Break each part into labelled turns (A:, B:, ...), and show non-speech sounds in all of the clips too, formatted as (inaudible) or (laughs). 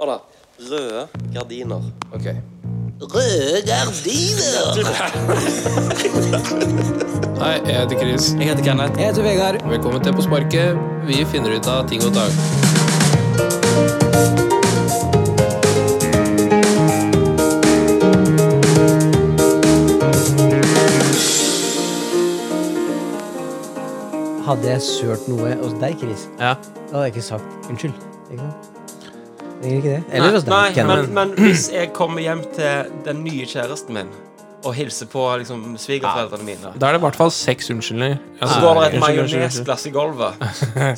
A: Hør da. Røde gardiner.
B: Ok.
A: Røde gardiner!
B: Hei, jeg heter Chris.
A: Jeg heter Kenneth. Jeg heter Vegard.
B: Velkommen til På sparket. Vi finner ut av ting og tang.
C: Hadde jeg sølt noe hos deg, Chris,
B: Ja.
C: da hadde jeg ikke sagt unnskyld. Ikke sant? Trenger ikke det. sånn Eller hos deg,
D: Nei, nei men,
C: Kenneth.
D: men hvis jeg kommer hjem til den nye kjæresten min og hilser på liksom, svigerforeldrene mine
B: Da er det i hvert fall seks unnskyldninger.
D: Så
B: Altså,
D: går det et
B: unnskyld, unnskyld, unnskyld.
D: majonesglass i gulvet,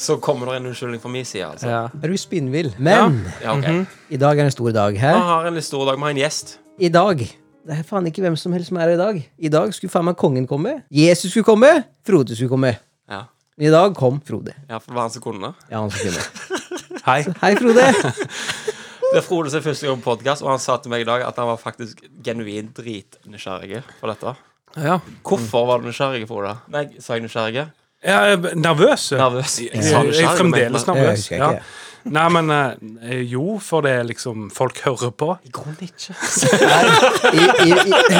D: så kommer det en unnskyldning fra min side. Altså.
B: Ja.
C: Er du spinnvill? Men
D: Ja, Ah. ok.
C: i dag er en stor dag her.
D: Vi har en litt stor dag. Vi har en gjest.
C: I dag Det er faen ikke hvem som helst som er her i dag. I dag skulle faen meg kongen komme. Jesus skulle komme. Frode skulle komme.
D: Ja.
C: Men I dag kom Frode.
D: ja, for det var han som kunne.
C: Ja, han skulle komme.
B: Hei.
C: Hei, Frode.
D: (laughs) Det er Frode sin første gang på podkast, og han sa til meg i dag at han var faktisk genuint dritnysgjerrig på dette.
B: Ja.
D: Hvorfor var du nysgjerrig, Frode? Nei, sa jeg nysgjerrig?
E: Jeg er b- nervøs.
D: Nervøs.
E: Jeg jeg er fremdeles
D: nervøs.
C: Jeg
E: nervøs.
C: husker
E: Ja.
C: ikke.
E: Nei, men eh, jo, for det er liksom Folk hører på.
D: I grunnen ikke.
C: I, i,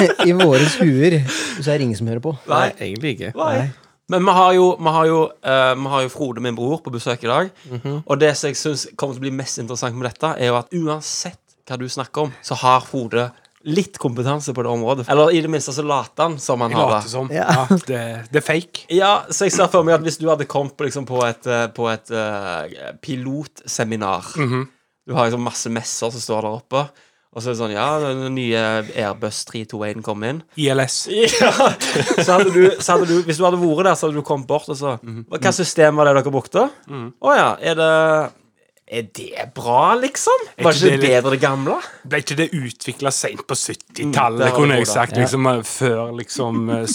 C: i, I våres huer så er det ingen som hører på.
D: Nei,
B: Egentlig ikke.
D: Nei. Men vi har, jo, vi, har jo, eh, vi har jo Frode, min bror, på besøk i dag.
E: Mhm.
D: Og det som jeg syns kommer til å bli mest interessant med dette, er jo at uansett hva du snakker om, så har Frode litt kompetanse på det området. Eller i det minste så later han som han
E: Jeg
D: har
E: later
D: det.
E: som.
C: Ja.
E: Ja, det, det er fake.
D: Ja, så jeg ser for meg at hvis du hadde kommet på, liksom, på et, eh, på et eh, pilotseminar
E: Mhm.
D: Du har liksom masse messer som står der oppe, og så er det sånn Ja, den nye Airbus 321 kom inn.
E: ILS.
D: Ja. Så hadde du, så hadde du, hvis du hadde vært der, så hadde du kommet bort og så Hva hva system var det dere brukte? Å ja, er det Er det bra, liksom?
E: Er
D: Var
E: ikke
D: ikke det
E: det litt-
D: bedre det gamle?
E: Ble ikke det utvikla seint på
D: det
B: Mm,
E: 70-tallet,
D: har
E: kunne
D: du
E: jeg
D: på, da.
E: sagt, liksom, eh, før liksom
B: (laughs)
E: eh,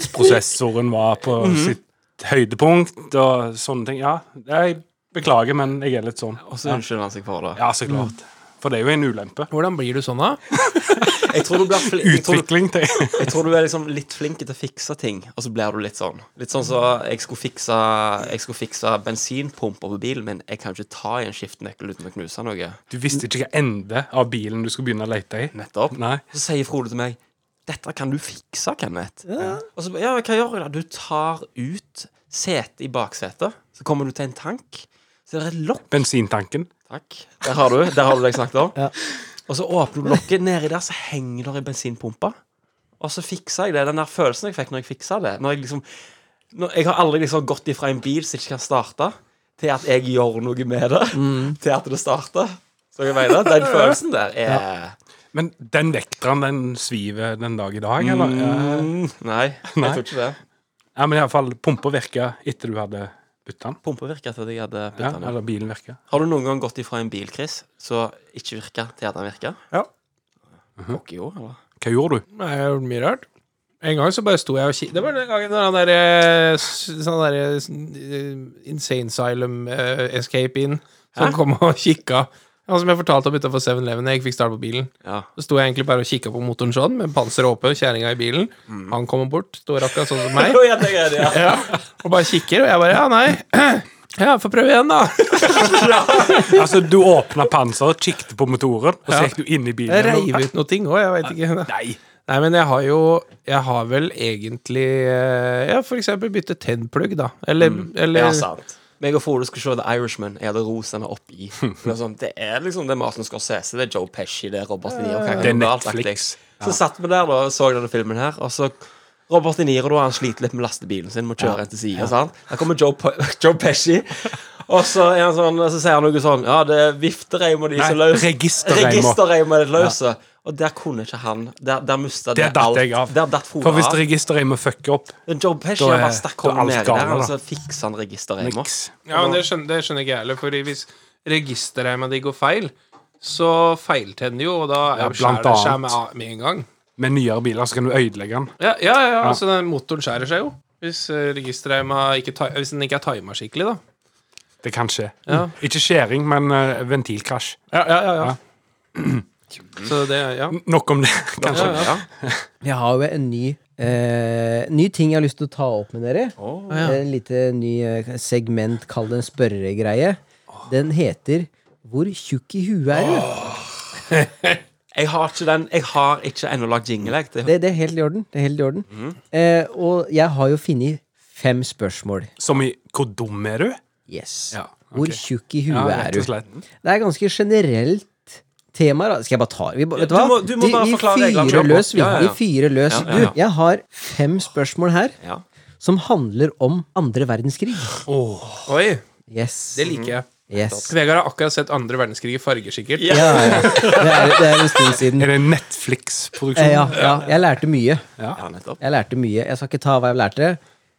E: 16-bits-prosessoren var på
B: Mhm.
E: sitt høydepunkt og sånne ting. Ja, jeg beklager, men jeg er litt sånn.
D: Og så unnskylder han seg for det.
E: Ja, så klart. For det er jo en ulempe.
B: Hvordan blir du sånn, da?
D: Jeg tror du blir fli- jeg tror, du-
E: Utvikling til
D: jeg tror du er liksom litt flink til å fikse ting, og så blir du litt sånn. Litt sånn som så jeg skulle fikse Jeg skulle fikse bensinpumpa på bilen min. Jeg kan jo ikke ta i en skiftenøkkel uten å knuse noe.
E: Du visste ikke hva ende av bilen du skulle begynne å lete i.
D: Nettopp.
E: Nei.
D: Så sier Frode til meg Dette kan du fikse, Kenneth. Og så, ba- ja, hva gjør jeg da? Du tar ut setet i baksetet. Så kommer du til en tank. Så er det et lokk.
E: Bensintanken.
D: Takk. Der har du der har du det jeg snakket om. Og så åpner du lokket. Nedi der så henger det ei bensinpumpe. Og så fiksa jeg det. Den der følelsen jeg fikk når jeg fiksa det Når Jeg liksom når, Jeg har aldri liksom gått ifra en bil som ikke kan starte, til at jeg gjør noe med det. Til at det starter. Så jeg mener, Den følelsen der er
E: Men den vekteren, den sviver den dag i dag, eller? Ja.
D: Mm, nei, jeg
E: Nei.
D: tror ikke det.
E: Ja, men iallfall pumpa virka etter du hadde bytta den.
D: Pumpa virka til at jeg hadde bytta
E: Ja,
D: den.
E: eller bilen virka.
D: Har du noen gang gått ifra en bil, Chris, som ikke virka, til at den virka?
E: Ja.
D: Pokker jo, eller?
E: Hva gjorde du? (laughs)
B: Nei, Jeg har gjort mye rart. En gang så bare sto jeg og kikket Det var den gangen når han derre Sånn derre eh, Insane Asylum eh, Escape In som kom og kikka. Han som jeg fortalte om utafor 7-Eleven da jeg ikke fikk start på bilen.
D: Ja.
B: Så sto jeg egentlig bare og kikka på motoren sånn, med panseret oppe, kjerringa i bilen. Han kommer bort, står akkurat sånn som meg,
D: ja, det er det, (laughs) ja.
B: ja, og bare kikker, og jeg bare Ja, nei. (clears throat) Ja, får prøve igjen, da.
E: Altså, du åpna panseret, kikket på motoren, og så
B: Ja.
E: gikk du inn i bilen.
B: Jeg reiv ut noe ting òg, jeg veit ikke.
E: Nei.
B: Nei, men jeg har jo Jeg har vel egentlig eh, Ja, for eksempel bytte tennplugg, da. Eller, eller
D: Ja, sant. Meg og Frode skulle se The Irishman. Jeg hadde rost denne
E: (laughs)
D: oppi. Det er, sånn, det er liksom det er Martin Scorsese, det er Joe Pesci, det er Robert De Niro. hva kan
E: Det er
D: gå galt, faktisk?
E: Netflix.
D: Så satt vi der da, og så denne filmen her, og så Robert De Niro da, han sliter litt med lastebilen sin, må kjøre til siden, sant? Her kommer Joe, Pe (laughs) Joe Pesci, og så, er han sånn, så sier han noe sånn Ja, det er viftereim og de som
E: Nei,
D: løs. (laughs)
E: registerreimer.
D: Registerreimer er det løse. Og der kunne ikke han Der, der mista
E: Der
D: det
E: datt jeg av.
D: Der datt Frode
E: For hvis
D: av.
E: registeret må fucke opp
D: Men Joe Pesci
E: Da
D: han
E: er-
D: bare stakk
E: da er
D: hånden
E: alt
D: nedi der,
E: gale,
D: og
E: da.
D: så fiksa han registerreimer.
E: Niks.
B: Ja, men det skjønner, det skjønner ikke jeg heller, for hvis registerreima di går feil, så feiltenner jo, og da
E: Ja,
B: er-
E: blant
B: skjærer det seg med,
E: annet.
B: med en gang.
E: Med nyere biler, så kan du ødelegge den.
B: Ja, ja, ja, altså den motoren skjærer seg jo. Hvis eh, registerreima ikke ti- Hvis den ikke er tima skikkelig, da.
E: Det kan skje.
B: Ja.
E: Ikke skjæring, men eh, ventilkrasj.
B: Ja, ja, ja. Så det Ja.
E: Nok om det, (laughs) kanskje.
B: Ja, ja.
C: Jeg har jo en ny, eh, ny ting jeg har lyst til å ta opp med dere. En lite ny eh, segment, kall det en spørregreie. Den heter Hvor tjukk i huet er du?
D: Jeg har ikke den Jeg har ikke ennå lagd jingle. jeg. Det,
C: Det, det er helt i orden. Det er helt i orden.
D: Mm.
C: Eh, og jeg har jo funnet fem spørsmål.
E: Som i 'Hvor dum er du?'
C: Yes.
E: Ja,
C: Hvor
E: ok.
C: tjukk i
E: Ja,
C: huet
E: rett
C: er
E: og
C: du?
E: slett.
C: Det er ganske generelt tema. da. Skal jeg bare ta vi, ba- Vet du
D: du
C: hva?
D: må- du må
C: De-
D: bare
C: vi
D: forklare reglene.
C: fyrer
D: Kjør på.
C: løs, vi.
D: Ja, ja, ja.
C: Vi fyrer løs.
D: Ja, ja, ja.
C: Du, jeg har fem spørsmål her
D: ja.
C: som handler om andre verdenskrig.
B: Oi,
C: Yes.
B: det liker jeg.
C: yes.
B: Vegard har akkurat sett andre verdenskrig i farger, sikkert.
D: Mhm. Ja.
C: Ja, ja. Det, er, det er en stund siden.
E: Er
C: Eh,
E: det en Netflix-produksjon?
C: Ja, ja, jeg lærte mye.
D: ja, nettopp.
C: Jeg lærte mye. Jeg skal ikke ta hva jeg lærte.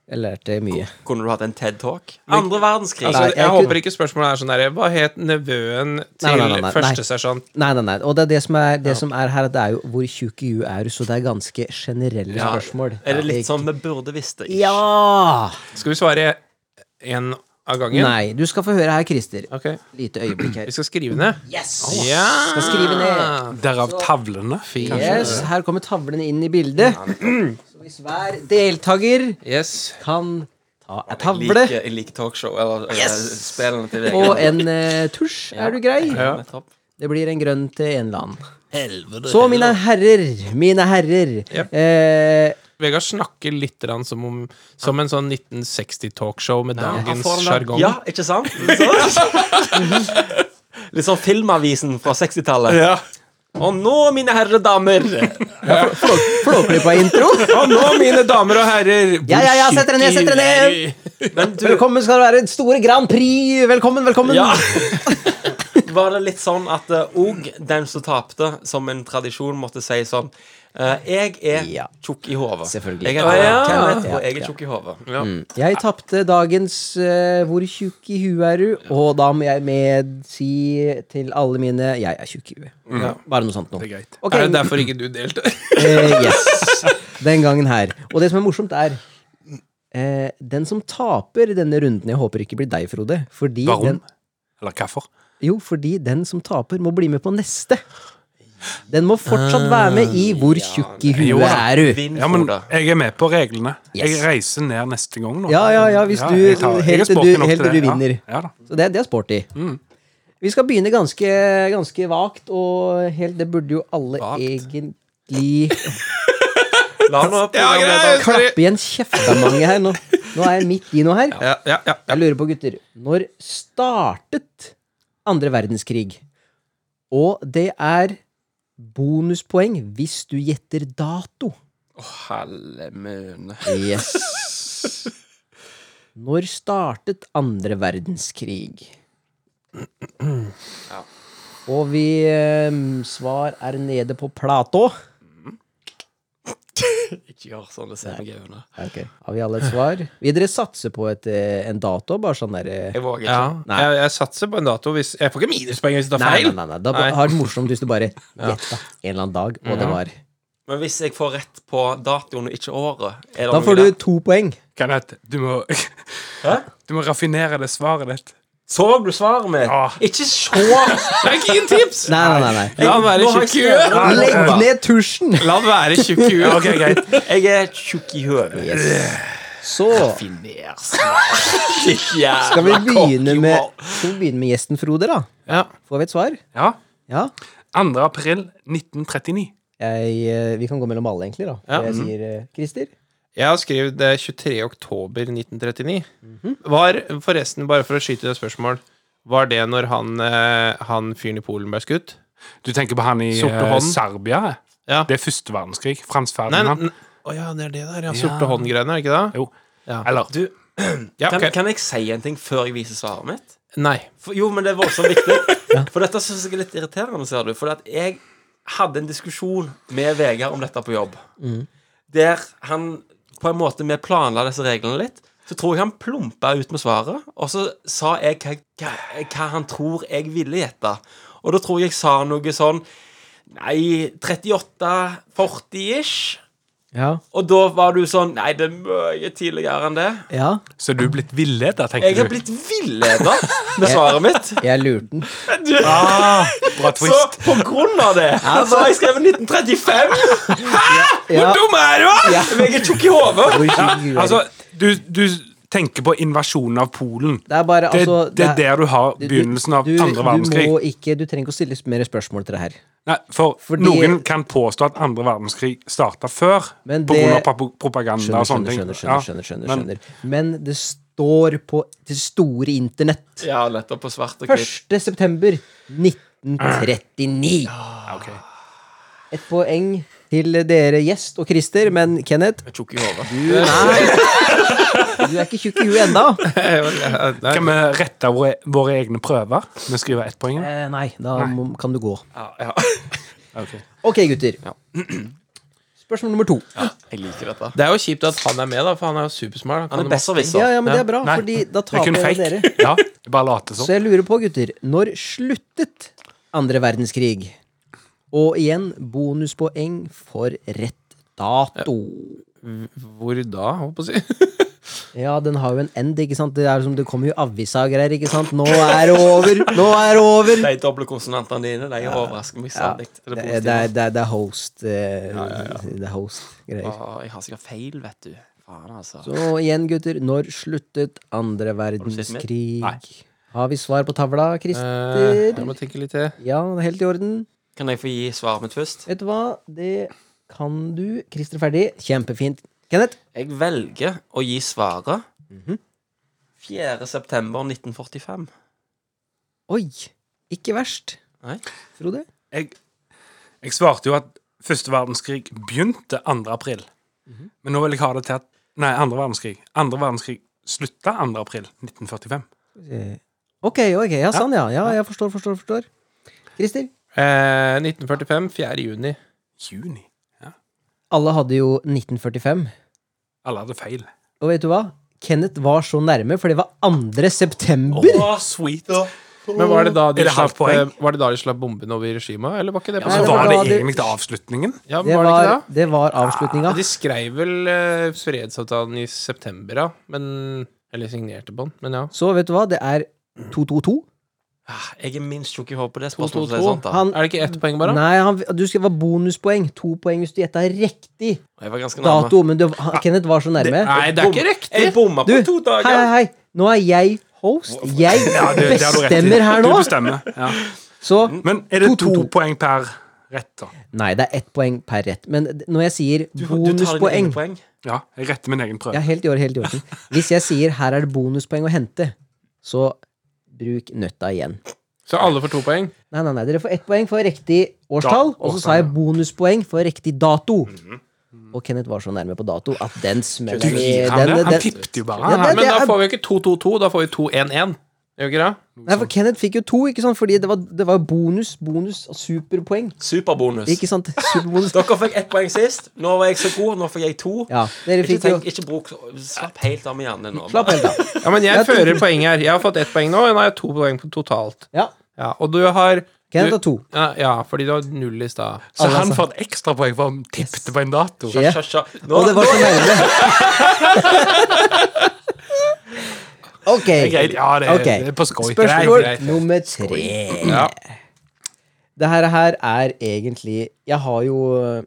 C: Jeg lærte mye.
D: Kunne du hatt en TED Talk? Andre verdenskrig.
B: Altså,
C: Nei,
B: jeg,
C: jeg kunne-
B: håper ikke spørsmålet er sånn der Hva het nevøen
C: Nei,
B: til
C: nei, nei, nei, nei.
B: førstesersjant?
C: Nei, nei, nei. Og det er det som er, det som er her, at det er jo hvor tjukk i huet er du, så det er ganske generelle
D: Ja.
C: spørsmål.
D: Er det litt
C: ikke-
D: sånn vi burde visst det?
C: Ja!
B: Skal vi svare én av gangen?
C: Nei, du skal få høre her, Christer.
B: Ok,
C: Lite
D: (clears throat)
C: øyeblikk her.
B: Vi skal skrive ned.
C: Yes!
B: Ja!
C: Skal skrive ned.
E: Derav tavlene?
C: Yes, Her kommer tavlen inn i bildet. (clears throat) Så hvis hver deltaker
B: Yes.
C: kan ta ei
D: Jeg
C: tavle
D: liker, jeg liker talkshow. Eller eller spillene til Vegard.
C: og en eh, tusj, er du grei?
D: Ja, nettopp.
C: Det blir en grønn til en eller annen. Så, mine herrer, mine herrer
B: Yep.
C: eh,
B: Vegard snakker litt grann som, om, som en sånn 1960-talkshow med
D: Han
B: dagens
D: får den der-
B: sjargong.
D: Ja, ikke sant? Så- Litt sånn (laughs) Filmavisen fra 60-tallet. Og nå, mine herrer og damer
C: Flåklypa intro.
B: Og nå, mine damer og herrer hvor
C: (laughs) Ja, ja, ja, sett dere ned, sett dere ned. (laughs)
D: Men du,
C: Velkommen skal det være. Store Grand Prix. Velkommen, velkommen.
D: Ja. (laughs) Var det litt sånn at òg den som tapte, som en tradisjon måtte si sånn eh, Jeg
C: Ja.
D: er tjukk i hodet.
C: Selvfølgelig.
D: Jeg er
B: Å, ja.
D: Kenneth, og jeg
C: Ja. Mm.
D: er tjukk i hodet.
C: Jeg tapte dagens eh, 'Hvor tjukk i huet er du?', og da må jeg med si til alle mine 'Jeg er tjukk i huet'. Ja, Bare noe sånt nå.
E: Det er greit.
C: Ok,
B: Er det derfor ikke du
C: (laughs)
B: deltar?
C: eh, yes. Den gangen her. Og det som er morsomt, er eh, Den som taper denne runden Jeg håper ikke blir deg, Frode. Fordi
E: Baron?
C: den,
E: Eller hvorfor?
C: jo, fordi den som taper, må bli med på neste. Den må fortsatt være med i 'Hvor tjukk i
E: Jo
C: huet
E: da.
C: er du'.
D: Vinn,
E: Ja, men
D: Frode.
E: jeg er med på reglene.
C: Yes.
E: Jeg reiser ned neste gang, nå.
C: Ja, ja, ja, hvis du-
E: jeg tar- jeg
C: helt
E: er
C: til du-
E: sporty nok
C: helt til
E: det.
C: du vinner.
E: Ja, ja da.
C: Så det, det er sporty. Vi skal begynne ganske, ganske vagt, og helt, det burde jo alle
D: Vagt?
C: egentlig
D: La nå
E: (laughs)
B: Ja, greit,
D: programlederen
B: sorry.
C: klappe igjen kjefta mange her nå. Nå er jeg midt i noe her.
B: Ja, ja, ja, ja.
C: Jeg lurer på, gutter, når startet andre verdenskrig? Og det er bonuspoeng hvis du gjetter dato.
D: Hellemune.
C: Yes. Når startet andre verdenskrig? Og vi ehm, Svar er nede på Plato.
D: Ikke gjør sånn, det ser meg i øynene.
C: Har vi alle et svar? Vil dere satse på et, eh, en dato? Bare sånn der eh,
D: Jeg våger ikke.
B: ja.
C: Nei.
B: Jeg, jeg satser på en dato hvis Jeg får ikke minuspoeng hvis jeg tar
C: Nei,
B: feil.
C: nei, nei, nei. Da ba-
B: Nei.
C: har det morsomt hvis du bare gjetta en eller annen dag, og det var
D: Men hvis jeg får rett på datoen og ikke året er det
C: Da
D: noe
C: får du
D: der?
C: to poeng.
E: Kenneth, du må, (laughs) du må raffinere det svaret ditt.
D: Så du svaret mitt?
E: Ja.
D: Ikke se!
B: Det er ikke inn tips!
C: Nei, nei, nei. nei.
B: La han være
D: Nå har jeg
B: tjukk i huet.
D: skrevet.
C: Legg ned tusjen!
B: La han være tjukk i huet.
E: Ok, greit.
D: (laughs) Jeg er tjukk i hodet.
C: Så
D: Finer Skal (laughs)
C: skal vi begynne med, skal vi begynne med gjesten Frode, da.
B: Ja.
C: Får vi et svar?
E: Ja.
C: Ja.
E: 2. april 1939.
C: jeg, eh, Vi kan gå mellom alle, egentlig. da
B: Ja.
E: Mhm.
C: Jeg sier eh, Christer.
B: Jeg har skrevet eh, 23. oktober 1939. Var, forresten, bare for å skyte det spørsmål, var det når han, eh, han fyren i Polen ble skutt?
E: Du tenker på han i
B: Sorte
E: eh,
B: hånd.
E: Serbia?
B: Ja.
E: Det er første verdenskrig. Frans
B: Nei, nei,
E: Ferdinand.
B: nei. Å ja, det er det der, ja. Sorte hånd-greiene, er det ikke det?
E: Jo.
B: Ja.
E: Eller
D: Du,
B: Ja,
D: kan,
B: (laughs) ok.
D: kan jeg si en ting før jeg viser svaret mitt?
B: Nei.
D: For, jo, men det er voldsomt
B: (laughs)
D: viktig. For dette syns jeg er litt irriterende, ser du. For at jeg hadde en diskusjon med Vegard om dette på jobb.
B: Mm.
D: Der han på en måte Vi planla disse reglene litt. Så tror jeg han plumpa ut med svaret, og så sa jeg hva, hva, hva han tror jeg ville gjette. Og da tror jeg jeg sa noe sånn Nei, 38-40-ish.
C: Ja.
D: Og da var du sånn Nei, det er mye tidligere enn det.
C: ja.
E: Så er du blitt villeda, tenker
D: Jeg har
E: du?
D: blitt villeda med svaret mitt.
C: Jeg lurte den.
E: Ah,
D: Så
E: bra twist.
D: på grunn av det så har jeg skrevet 1935.
C: Ja.
B: Dum er du, da!
D: Jeg er tjukk i hodet.
C: Hvor tjukk i huet er du?
E: Altså, du, du tenker på invasjonen av Polen.
C: Det er bare,
E: Det,
C: altså
E: det er
C: det er-
E: der du har
C: du-
E: begynnelsen av
C: du-
E: andre verdenskrig. Mm,
C: Du, må ikke, du trenger ikke å stille mer spørsmål til det her.
E: Nei, for
C: Fordi-
E: noen kan påstå at andre verdenskrig starta før,
C: Men det-
E: pga. propaganda
C: Skjønner,
E: og sånne
C: skjønner,
E: ting.
C: skjønner.
E: Ja,
C: skjønner, skjønner, skjønner,
E: men-
C: skjønner. Men det står på det store internett.
F: Ja, nettopp på svart og
C: 1.
F: hvitt.
C: september 1939. Et poeng til dere gjest og Christer, men Kenneth,
F: Tjukk i hodet.
C: du, nei, du er ikke tjukk i huet ennå.
E: Kan vi rette våre, våre egne prøver? Vi skriver ett poeng.
C: Eh, nei, da må- kan du gå.
F: Ja, ja.
C: Ok, gutter. (clears throat) Spørsmål nummer to.
F: Jeg liker dette.
B: Det er jo kjipt at han er med, da, for han er jo supersmart.
F: Han er
B: kan jo
F: besserwisser.
C: Ja, ja, men det er bra,
B: Nei.
C: fordi da
E: Det er
C: taper
E: kun
C: jo
E: fake.
C: dere.
E: Ja, bare late
C: (laughs)
E: som.
C: Så jeg lurer på, gutter, når sluttet andre verdenskrig? Og igjen, bonuspoeng for rett dato.
B: ma- Hvor da, holdt på å si?
C: Ja, den har jo en end, ikke sant? Det, er som, det kommer jo avisa og greier, ikke sant? Nå er det over! Nå er det over!
F: De doble konsonantene dine de overrasker meg særlig. Er det
C: Det er, det er,
F: positivt?
C: det er, det er host eh, Det er host-greier.
F: Å, jeg har sikkert feil, vet du. Faen, altså.
C: Så igjen, gutter, når sluttet andre
F: sett mer?
C: verdenskrig?
E: Nei.
C: Har vi svar på tavla,
B: Eh, jeg
C: Christer?
B: må tenke litt til.
C: Ja, det er helt i orden.
F: Kan jeg få gi svaret mitt først?
C: Vet du hva? Det kan du. Christer er ferdig. Kjempefint. Kenneth?
F: Jeg velger å gi svaret
C: Mhm.
F: 4. september 1945.
C: Oi! Ikke verst.
F: Nei.
C: Frode?
E: Jeg, jeg svarte jo at første verdenskrig begynte 2. april.
C: Mhm.
E: Men nå vil jeg ha det til at Nei, andre verdenskrig. Andre verdenskrig slutta 2. april 1945.
C: Eh, Ok, ok. Ja, sånn, ja. Ja, jeg forstår, forstår, forstår. Christer?
B: Eh, 1945, 4. juni.
E: Juni.
C: Alle hadde jo 1945.
E: Alle hadde feil.
C: Og vet du hva? Kenneth var så nærme, for det var 2. september.
E: sweet.
B: Men var det da de
E: Er det halvt
B: slapp,
E: poeng?
B: eh, var det da de slapp bomben over Hiroshima, eller var ikke det på
E: Så
C: Nei, det
B: samme-
E: var
C: var
E: det
C: da de-
E: egentlig avslutningen.
B: Ja, var
C: Det
B: det
C: var,
B: ikke det? Ah,
C: det var avslutninga.
B: De skrev vel eh, fredsavtalen i september, da. Men Eller signerte på den, men ja.
C: Så vet du hva? Det er 222.
F: Ah, Jeg er minst tjukk i hodet på det
B: 2-2-2.
F: spørsmålet. så er det sant, da.
C: Han
B: Er det ikke ett poeng, bare?
C: Nei, han, du skal være bonuspoeng. To poeng hvis du gjetta
F: Jeg
C: riktig
F: var ganske nærme.
C: dato. Men det, han,
E: Ah.
C: Kenneth var så nærme.
B: Nei, det er ikke riktig!
F: Jeg bomma
C: Du,
F: på to
C: hei,
F: dager!
C: hei, hei. Nå er jeg host. Jeg
E: Det, det har du rett i.
C: bestemmer her nå.
E: Du bestemmer. Ja.
C: Så
E: Men er det
C: To, to,
E: to
C: to.
E: poeng per rett, da?
C: Nei, det er ett poeng per rett. Men d- når jeg sier
F: Du, du tar dine
C: bonuspoeng
F: egne poeng.
E: Ja, jeg retter min egen prøve.
C: Ja, helt i år, helt i orden. Hvis jeg sier 'her er det bonuspoeng å hente', så bruk nøtta igjen.
B: Så alle får to poeng.
C: Nei, nei, nei. Dere får ett poeng for riktig årstall, og så sa jeg bonuspoeng for riktig dato. Og Kenneth var så nærme på dato at den
E: Mhm. Du
C: smeller i
E: gir ham det?
C: den,
E: Han
C: den,
E: tippet jo
C: Ja,
E: bare.
C: det-
E: Han-
B: Men da
C: er-
B: får vi jo ikke 2-2-2, da får vi 2-1-1. Gjør vi ikke det?
E: Sånn
C: Nei, for Kenneth fikk jo to, ikke sant? Fordi det var, det var bonus, bonus, og superpoeng.
F: Superbonus.
C: Ikke sant? Superbonus.
F: Dere fikk ett poeng sist. Nå var jeg så god, nå fikk jeg to.
C: Ja, dere
F: Ikke,
C: fikk jo
F: tenk, ikke bruk Slapp helt av med hjernen nå.
C: Slapp helt av.
B: Ja, men jeg,
C: Jeg tror-
B: fører poeng her. Jeg har fått ett poeng nå, og nå har jeg to poeng på totalt.
C: Ja.
B: Ja, og du har
C: Kenneth
B: du-
C: har to.
B: Ja, ja, fordi du har null i stad.
E: Så han får et ekstrapoeng for han tippet på en dato.
C: Ja.
F: Kjør, kjør, kjør. Nå,
C: Og det var så
E: (laughs)
C: nærme. Ok.
E: Greit, ja, det,
C: Ok.
E: det er på skoj.
C: Spørsmål
E: Greit.
C: nummer tre. Det her, her er egentlig Jeg har jo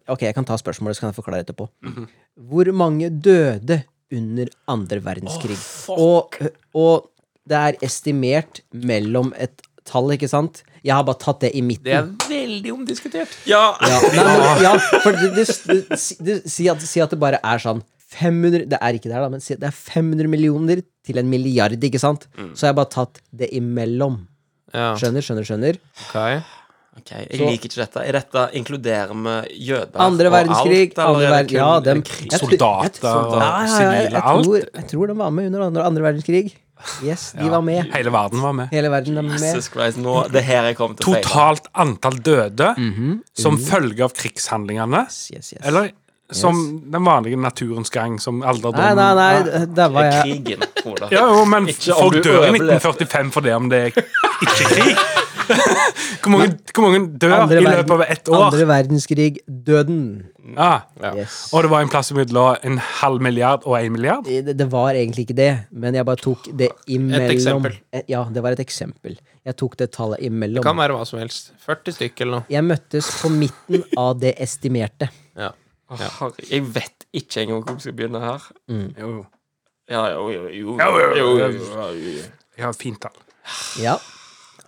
C: Ok, jeg kan ta spørsmålet, så kan jeg forklare etterpå.
B: Mhm.
C: Hvor mange døde under andre verdenskrig? og, og det er estimert mellom et tall, ikke sant? Jeg har bare tatt det i midten.
B: Det er veldig omdiskutert.
F: ja.
C: Ja, nei, men, ja for det, det, det, si- det, si, at, si at det bare er sånn 500, Det er ikke det her, da, men si at det er 500 millioner til en milliard, ikke sant? Så jeg har bare tatt det imellom.
B: Mm. Ja,
C: Skjønner, skjønner, skjønner.
B: ok.
F: Ok, Jeg liker ikke dette. Er dette inkluderer vi jøder
C: Andre
F: og alt,
C: verdenskrig.
F: eller
C: andre
F: er det
C: verden-
F: kun-
C: ja, dem,
F: er det krig?
C: jeg tror- jeg
E: Soldater
C: tror-
E: og
C: ja, ja, ja, jeg-
E: sivile, alt.
C: Jeg tror, jeg tror de var med under andre, andre verdenskrig. Yes, de var med.
E: Hele verden var med.
C: Hele verden er med.
F: Jesus Christ, nå, det er her jeg kommer til å feile.
E: Totalt antall døde
C: Mhm,
E: som følge av krigshandlingene.
C: Yes, yes, yes.
E: Eller som den vanlige naturens gang, som alderdom
C: Nei, nei, nei, der var jeg.
F: Krigen, Ola.
E: Ja, jo, men
F: Ikke om du
E: folk dør i
F: overlevde.
E: 1945 for det om det er ikke krig. Hvor mange, hvor mange dør
C: Andre
E: i
C: verden-
E: løpet av ett år?
C: Andre verdenskrig, døden.
E: Ja.
C: Yes.
E: Og det var en plass mellom en halv milliard og en milliard?
C: det, det var egentlig ikke det, men jeg bare tok det imellom.
B: eksempel.
C: Eh, Ja, det var et eksempel. Jeg tok det tallet
B: Det kan
C: imellom.
B: være hva som helst. 40 stykk eller noe.
C: Jeg møttes på midten av det estimerte.
B: Ja.
C: Mm.
F: Herre, Jeg vet ikke engang hvor vi skal begynne her.
E: Jo.
D: Ja, jo, jo, jo.
E: jo, jo, jo,
D: jo.
E: Jeg har et fint tall.
C: Ja.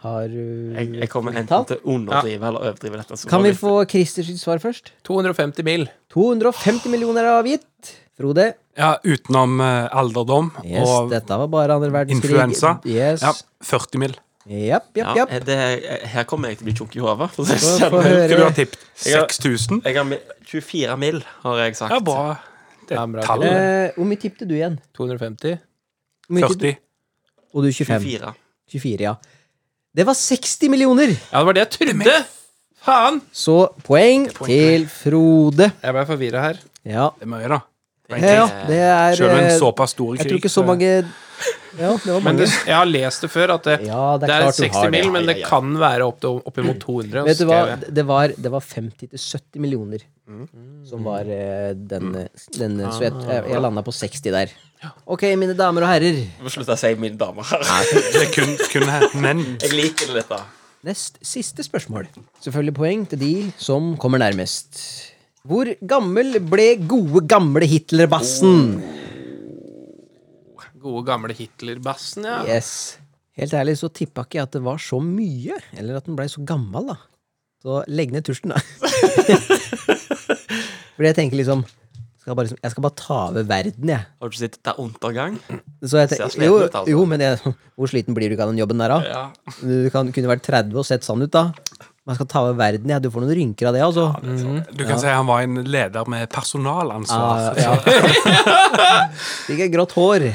C: Har du
D: Jeg, jeg kommer enten
C: tall?
D: til å underdrive eller overdrive dette. så
C: Kan
D: bare
C: vi få Christers svar først?
B: 250 mil.
C: 250 millioner er avgitt. Frode.
E: Ja, utenom eh, alderdom
C: Yes,
E: og
C: dette var bare andre verdenskrig.
E: influensa.
C: Yes.
E: ja, 40 mil.
C: Japp,
D: litt-
C: japp,
D: Ja,
C: japp.
D: det, her kommer jeg til å bli tjukk i hodet. for å si det
C: Få- få
D: selv.
E: Hva
C: høre
E: du har
C: det.
E: tippet? 6000?
D: Jeg har mi- 24 mil, har jeg sagt.
E: Ja, bra. Det
B: Ja,
E: er
B: bra.
E: tall.
C: Eh, Hvor mye tippte du igjen?
B: 250.
C: Hvor mye tippte-
E: 40.
C: Og du 25.
D: 24.
C: 24, ja. Det var 60 millioner!
B: Ja, det var det jeg trodde! Faen!
C: Så poeng til Frode.
B: Jeg ble forvirra her.
C: Ja.
E: Det er mye, da.
C: ja det er
E: Selv en
C: eh,
E: såpass stor krig.
C: Jeg tror ikke så mange Ja, det var
B: Men
C: mange.
B: det, jeg har lest det før, at det,
C: Ja,
B: det er
C: klart du
B: 60
C: har
B: mil, men
C: Ja,
B: det
C: ja, ja.
B: kan være opp til- oppimot 200.
C: Vet du hva,
B: skrev jeg.
C: det var, det var 50 til 70 millioner
B: Mm.
C: som var eh, den, den
B: Ah.
C: Så jeg, jeg, jeg landa på 60 der. Ok, mine damer og herrer.
D: Jeg må slutte å si mine damer her.
E: Det er kun, kun her. Men
D: (laughs) Jeg liker det litt, da.
C: Nest siste spørsmål. Selvfølgelig poeng til de som kommer nærmest. Hvor gammel ble gode, gamle Hitlerbassen?
B: Gode, gamle Hitler-bassen, ja.
C: Yes. Helt ærlig så tippa ikke jeg at det var så mye, eller at den blei så gammel, da. Så legg ned tusjen, da. (laughs) Fordi jeg tenker liksom skal bare, liksom- Jeg skal bare ta over verden, jeg.
D: Har du ikke sett Det er
C: (laughs)
D: undergang?
C: Så jeg
D: Ser
C: tenker,
D: sliten
C: jo,
D: ut, altså.
C: jo, men jeg, hvor sliten blir du ikke av den jobben der, da?
D: Ja.
C: Du kan, kunne vært 30 og sett sånn ut, da. Man skal ta over verden, ja. Du får noen rynker av det, altså.
E: du kan si han var en leder med personalansvar.
C: Ah, ja. Fikk jeg grått hår.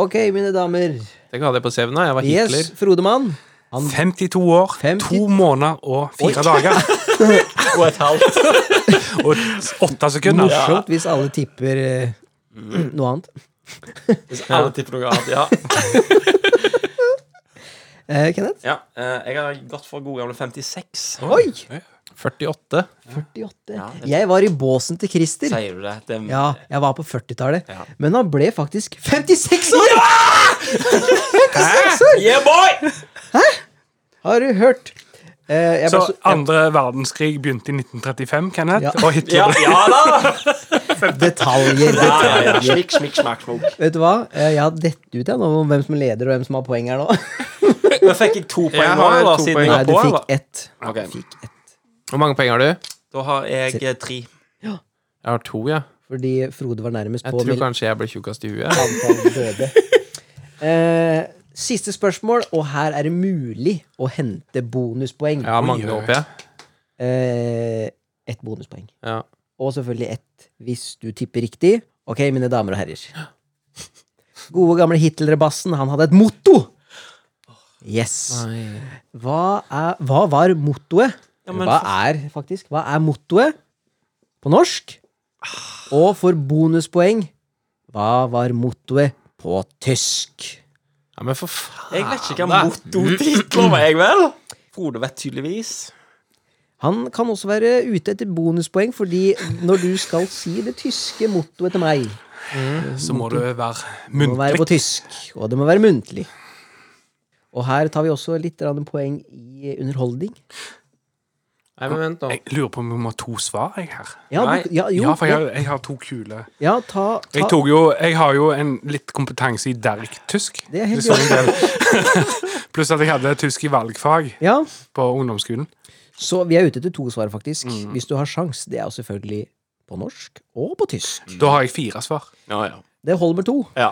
C: Ok, mine damer.
B: Tenk å ha det på sevna. Jeg var Hitler.
C: Yes, Frodemann. Han
E: 52 år,
C: 50
E: to måneder og fire
C: (laughs)
E: dager.
D: Og et halvt.
E: Og åtte sekunder.
C: Morsomt hvis alle tipper eh, (clears throat) noe annet.
D: Hvis alle tipper noe annet. Ja.
C: Eh, Kenneth?
D: ja. eh, Jeg har gått for gode gamle 56.
C: Oi!
B: 48.
C: 48.
D: Ja, det-
C: jeg var i båsen til Christer.
D: Sier du det? det er-
C: Ja, jeg var på 40-tallet.
D: Ja.
C: Men han ble faktisk 56 år! 56 år!
D: Yeah, boy!
C: Har du hørt? Eh, jeg
E: Så
C: ble så,
E: andre verdenskrig begynte i 1935, Kenneth,
C: Ja.
E: og Hitler
D: Ja, ja
C: (laughs)
D: da! Ja,
C: detaljer,
D: ja, ja.
C: detaljer.
D: Smikk, smikk, smakk, smokk.
C: Vet du hva? Eh, Jeg har dett ut jeg, nå om hvem som er leder og hvem som har poeng her nå.
D: Men fikk jeg to poeng
B: Jeg
D: nå,
B: har
D: eller?
B: to
D: Siden
B: poeng.
D: jeg
C: Nei,
D: var
C: du
D: på, eller?
C: fikk ett.
D: Ok.
C: Fikk ett.
B: Hvor mange penger har du?
D: Da har jeg eh, tre.
B: Jeg har to, ja.
C: Fordi Frode var nærmest
B: Jeg
C: på
B: tror
C: med
B: kanskje jeg ble tjukkast i huet.
C: antall døde. (laughs) Eh, siste spørsmål, og her er det mulig å hente bonuspoeng.
B: Jeg har mange,
E: oi.
B: håper jeg.
C: Eh, ett bonuspoeng.
B: Ja.
C: Og selvfølgelig ett hvis du tipper riktig. Ok, mine damer
D: (gasps)
C: og herrer. Gode gamle Hitler-bassen, han hadde et motto! Yes. Hva, er, hva var mottoet?
D: Ja, men
C: hva er faktisk? Hva er mottoet på norsk? Og for bonuspoeng, hva var mottoet på tysk?
B: ja, men for faen
D: Jeg vet ikke hva motortitler var, jeg vel? Frode vet tydeligvis.
C: Han kan også være ute etter bonuspoeng, fordi når du skal si det tyske mottoet til meg,
E: så må du være
C: Det må være på
E: muntlig.
C: tysk, og det må være muntlig. Og her tar vi også litt grann poeng i underholdning.
B: Nei, men vent nå.
E: Jeg lurer på om jeg må ha to svar jeg her.
C: Ja,
D: Nei,
C: du, ja, jo,
E: Ja, for jeg, har- jeg har to kule
C: ja ta, ta
E: jeg, tok jo, jeg har jo en litt kompetanse i derk-tysk.
C: Det er helt
E: Det står en del. Pluss at jeg hadde tysk i valgfag
C: Ja,
E: på ungdomsskolen.
C: så vi er ute etter to svar, faktisk.
E: Mm.
C: Hvis du har sjans. Det er jo selvfølgelig på norsk og på tysk.
E: Da har jeg fire svar.
D: Ja, ja.
C: Det holder med to.
D: ja.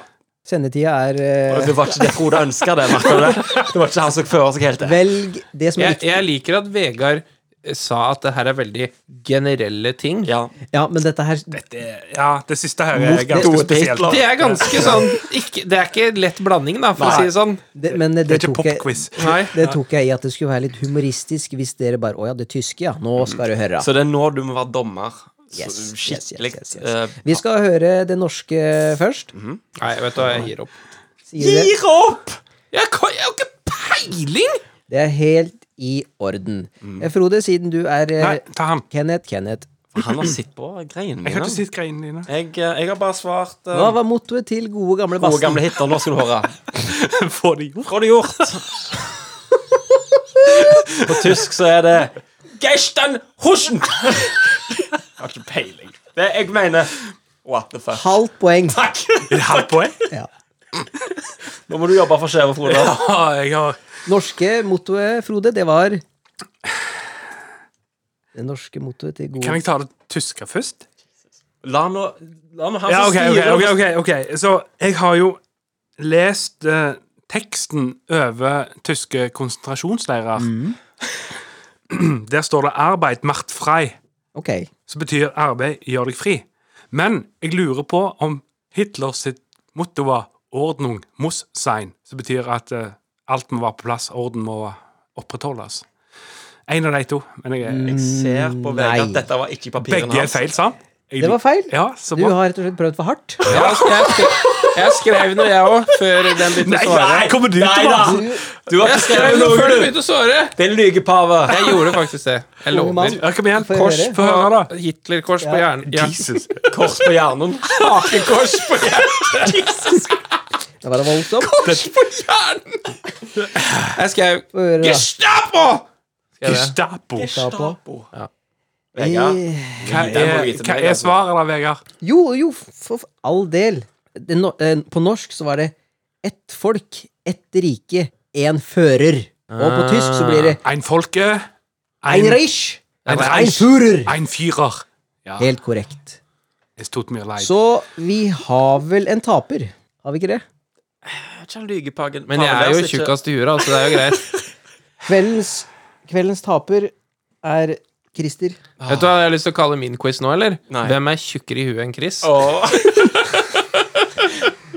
C: Sendetida er eh,
D: Det var ikke det Frode ønska, det. merker du Det Det var ikke han som fører seg helt det.
C: Velg det som er
B: Jeg,
C: riktig.
B: jeg liker at Vegard eh, sa at det her er veldig generelle ting.
D: Ja.
C: Ja, men dette her
E: Det, ja, det siste her er ganske
D: Mottoet til
E: spesielt.
D: Hitler.
B: Det er ganske sånn ikke, Det er ikke lett blanding, da, for å si det sånn.
C: det, Men det,
E: Det er ikke
C: tok jeg,
E: popquiz.
B: Nei.
C: det tok jeg i at det skulle være litt humoristisk hvis dere bare Å ja, det tyske, ja. Nå
E: Mm.
C: skal du høre.
D: Så det er nå du må være dommer. Så
C: Yes, yes, yes,
D: Skikkelig.
C: yes, yes.
D: eh, Mhm.
C: Vi skal høre det norske først.
B: Nei, vet du hva, jeg gir opp.
C: Sier det.
D: Gir opp!
B: Jeg, kan, jeg har ikke peiling!
C: Det er helt i orden.
D: Mhm.
C: Eh, Frode, siden du er eh,
E: Nei, ta han.
C: Kenneth, Kenneth.
D: Han har sittet på greiene
E: Jeg har
D: mine.
E: ikke sett greiene dine.
D: Jeg, eh, jeg har bare svart eh,
C: Hva var mottoet til gode gamle
D: Gode
C: Basten?
D: gamle Hitler, nå skal du høre.
E: Få det gjort.
D: (laughs) Få det (laughs) gjort. På tysk så er det (laughs) Geisten Huschen. Jeg har ikke peiling. Det jeg mener What the fuck?
C: Halvt poeng.
E: Er det halvt poeng?
C: Ja.
D: (laughs) Nå må du jobbe for skjeve, Frode.
E: Ja, jeg har
C: Norske mottoet, Frode, det var Det norske mottoet til
E: Kan
C: gode
E: jeg ta det tyske først?
D: La nå La nå han
E: Ja,
D: som
E: ok, ok,
D: styrer.
E: ok, ok, ok. Så jeg har jo lest eh, teksten over tyske konsentrasjonsleirer. (clears throat) Der står det 'arbeid macht frei',
C: Ok.
E: som betyr 'arbeid gjør deg fri'. Men jeg lurer på om Hitler sitt motto var 'ordnung muss sein', som betyr at eh, alt må være på plass, orden må opprettholdes. En av de to. Men jeg, er-
D: Jeg ser på VG
C: Nei.
D: at dette var ikke i papirene
E: begge er
D: Mm. hans.
E: feil, sant? Jeg-
C: Det var feil.
E: Ja, så
C: Du
E: bra.
C: har rett og slett prøvd for hardt.
B: Jeg, skrev, jeg skrev noe, jeg òg, før den begynte å svare.
E: Nei, kommer du til
D: Nei
E: å
D: da! Du har
B: Jeg
D: ikke
B: skrev
D: skrevet
B: noe før du
D: noe, du!
B: begynte å svare!
D: Din lygepave.
B: Jeg gjorde faktisk det. Jeg
C: Unge mann.
B: lover.
E: Ja, kom igjen.
C: Får jeg
E: Kors,
C: høre?
E: få høre, da.
B: Hitler-kors på hjernen. Ja.
E: Jesus.
D: Kors på (laughs) hjernen.
B: Hakekors på
C: Det var voldsomt.
B: hjernen! Jeg skrev
C: Få høre, da.
B: Gestapo! Skrev jeg.
E: Gestapo.
C: Ta på.
D: Vegard.
C: Eh,
E: Hva
D: Den må du
E: er,
D: vite
E: hva
D: med,
E: er
D: altså.
E: svaret da, Vegard?
C: Jo, jo, for for all del. Det, no, eh, på norsk så var det ett folk, ett rike, én fører. Og på tysk så blir det
E: Ein folke,
C: ein Reich,
E: Ah. Ein
C: ein
E: Reich.
C: Führer.
E: ein Führer. Ja,
C: Helt korrekt.
E: es tut mir leid.
C: Så vi har vel en taper, har vi ikke det?
D: Ikke han lygepagen.
B: Men jeg er jo tjukkast i huet, altså. Det er jo greit.
C: Kveldens, kveldens taper er Christer.
B: Vet du hva jeg har lyst til å kalle min quiz nå, eller?
D: Nei.
B: Hvem er tjukkere i huet enn Chris?
D: (laughs)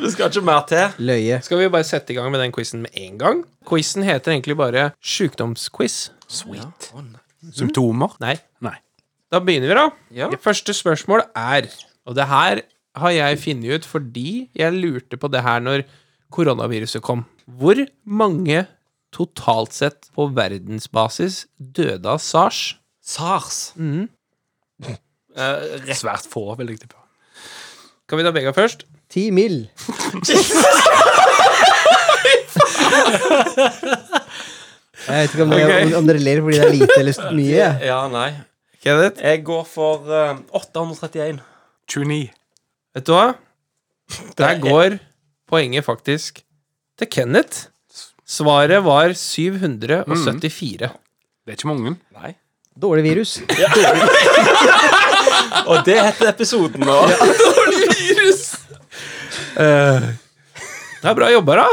D: Det skal ikke mer til.
C: Løye.
B: Skal vi bare sette i gang med den quizen med en gang? Quizen heter egentlig bare Sjukdomsquiz.
E: Sweet. Symptomer?
C: Mm.
B: Nei.
E: Nei.
B: Da begynner vi, da.
D: Ja.
B: Det første spørsmål er Og det her har jeg funnet ut fordi jeg lurte på det her når koronaviruset kom. Hvor mange totalt sett på verdensbasis døde av sars?
D: Sars. Eh, rett
E: Svært få, vil jeg tippe.
B: Kan vi ta Vega først?
C: Ti mil. Jeg vet ikke om, dere-
B: Ok.
C: om dere ler fordi det er lite eller st- mye. jeg.
D: Ja, nei.
B: Kenneth?
D: Jeg går for eh, 831.
E: 29.
B: Vet du hva? Der går poenget faktisk til Kenneth. Svaret var 774.
D: Mm.
E: Det er ikke mange.
D: Nei.
C: Dårlig virus.
D: (laughs) Og det heter episoden nå.
B: Det er bra jobba, da.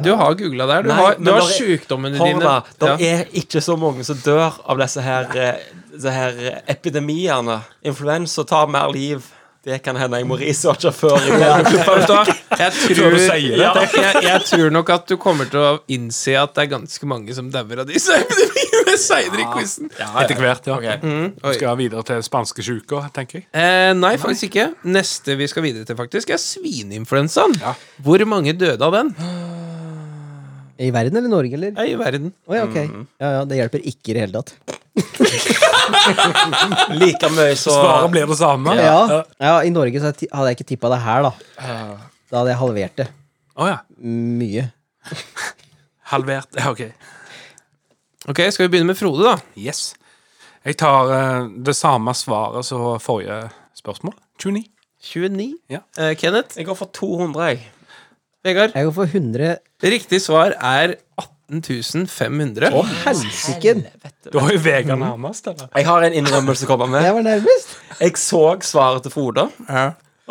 B: Du har googla der. Du
D: Nei,
B: har,
D: men
B: du har
D: bare-
B: sjukdommene dine.
D: Horda, det
B: Ja.
D: er ikke så mange som dør av disse her, eh, disse her eh, epidemiene. Influensa tar mer liv. Det kan hende jeg må researche før. jeg gjør det.
B: Vet du hva? Jeg tror,
E: du sier det.
B: ja, jeg, jeg tror nok at du kommer til å innse at det er ganske mange som dauer av disse epidemiene seinere i quizen.
E: Etter hvert, ja.
B: Oi.
C: Mm.
E: Vi skal videre til spanske sjuker, tenker jeg.
B: Eh, nei, faktisk ikke. Neste vi skal videre til, faktisk, er svineinfluensaen. Hvor mange døde av den
C: I verden eller Norge, eller?
B: er i verden?
C: Å ja, ok. Ja, ja, det hjelper ikke i det hele tatt.
D: Like mye så
E: Svaret blir det samme. Å
C: Ja, ja I Norge så hadde jeg ti- hadde jeg ikke tippa det her, da. Da hadde jeg halvert det.
E: ja.
C: Mye.
E: Halvert. Ja, ok.
B: Ok, Skal vi begynne med Frode, da?
E: Yes. Jeg tar eh, det samme svaret som forrige spørsmål. 29.
B: 29.
E: Ja.
B: Eh, Kenneth?
D: Jeg går for 200, jeg.
B: Vegard?
C: Jeg går for 100
B: Riktig svar er 18 500.
C: Å, helsiken!
E: Du har jo Vegard nærmest, eller?
D: Jeg har en innrømmelse å komme med.
C: Jeg var nærmest.
D: Jeg så svaret til Frode,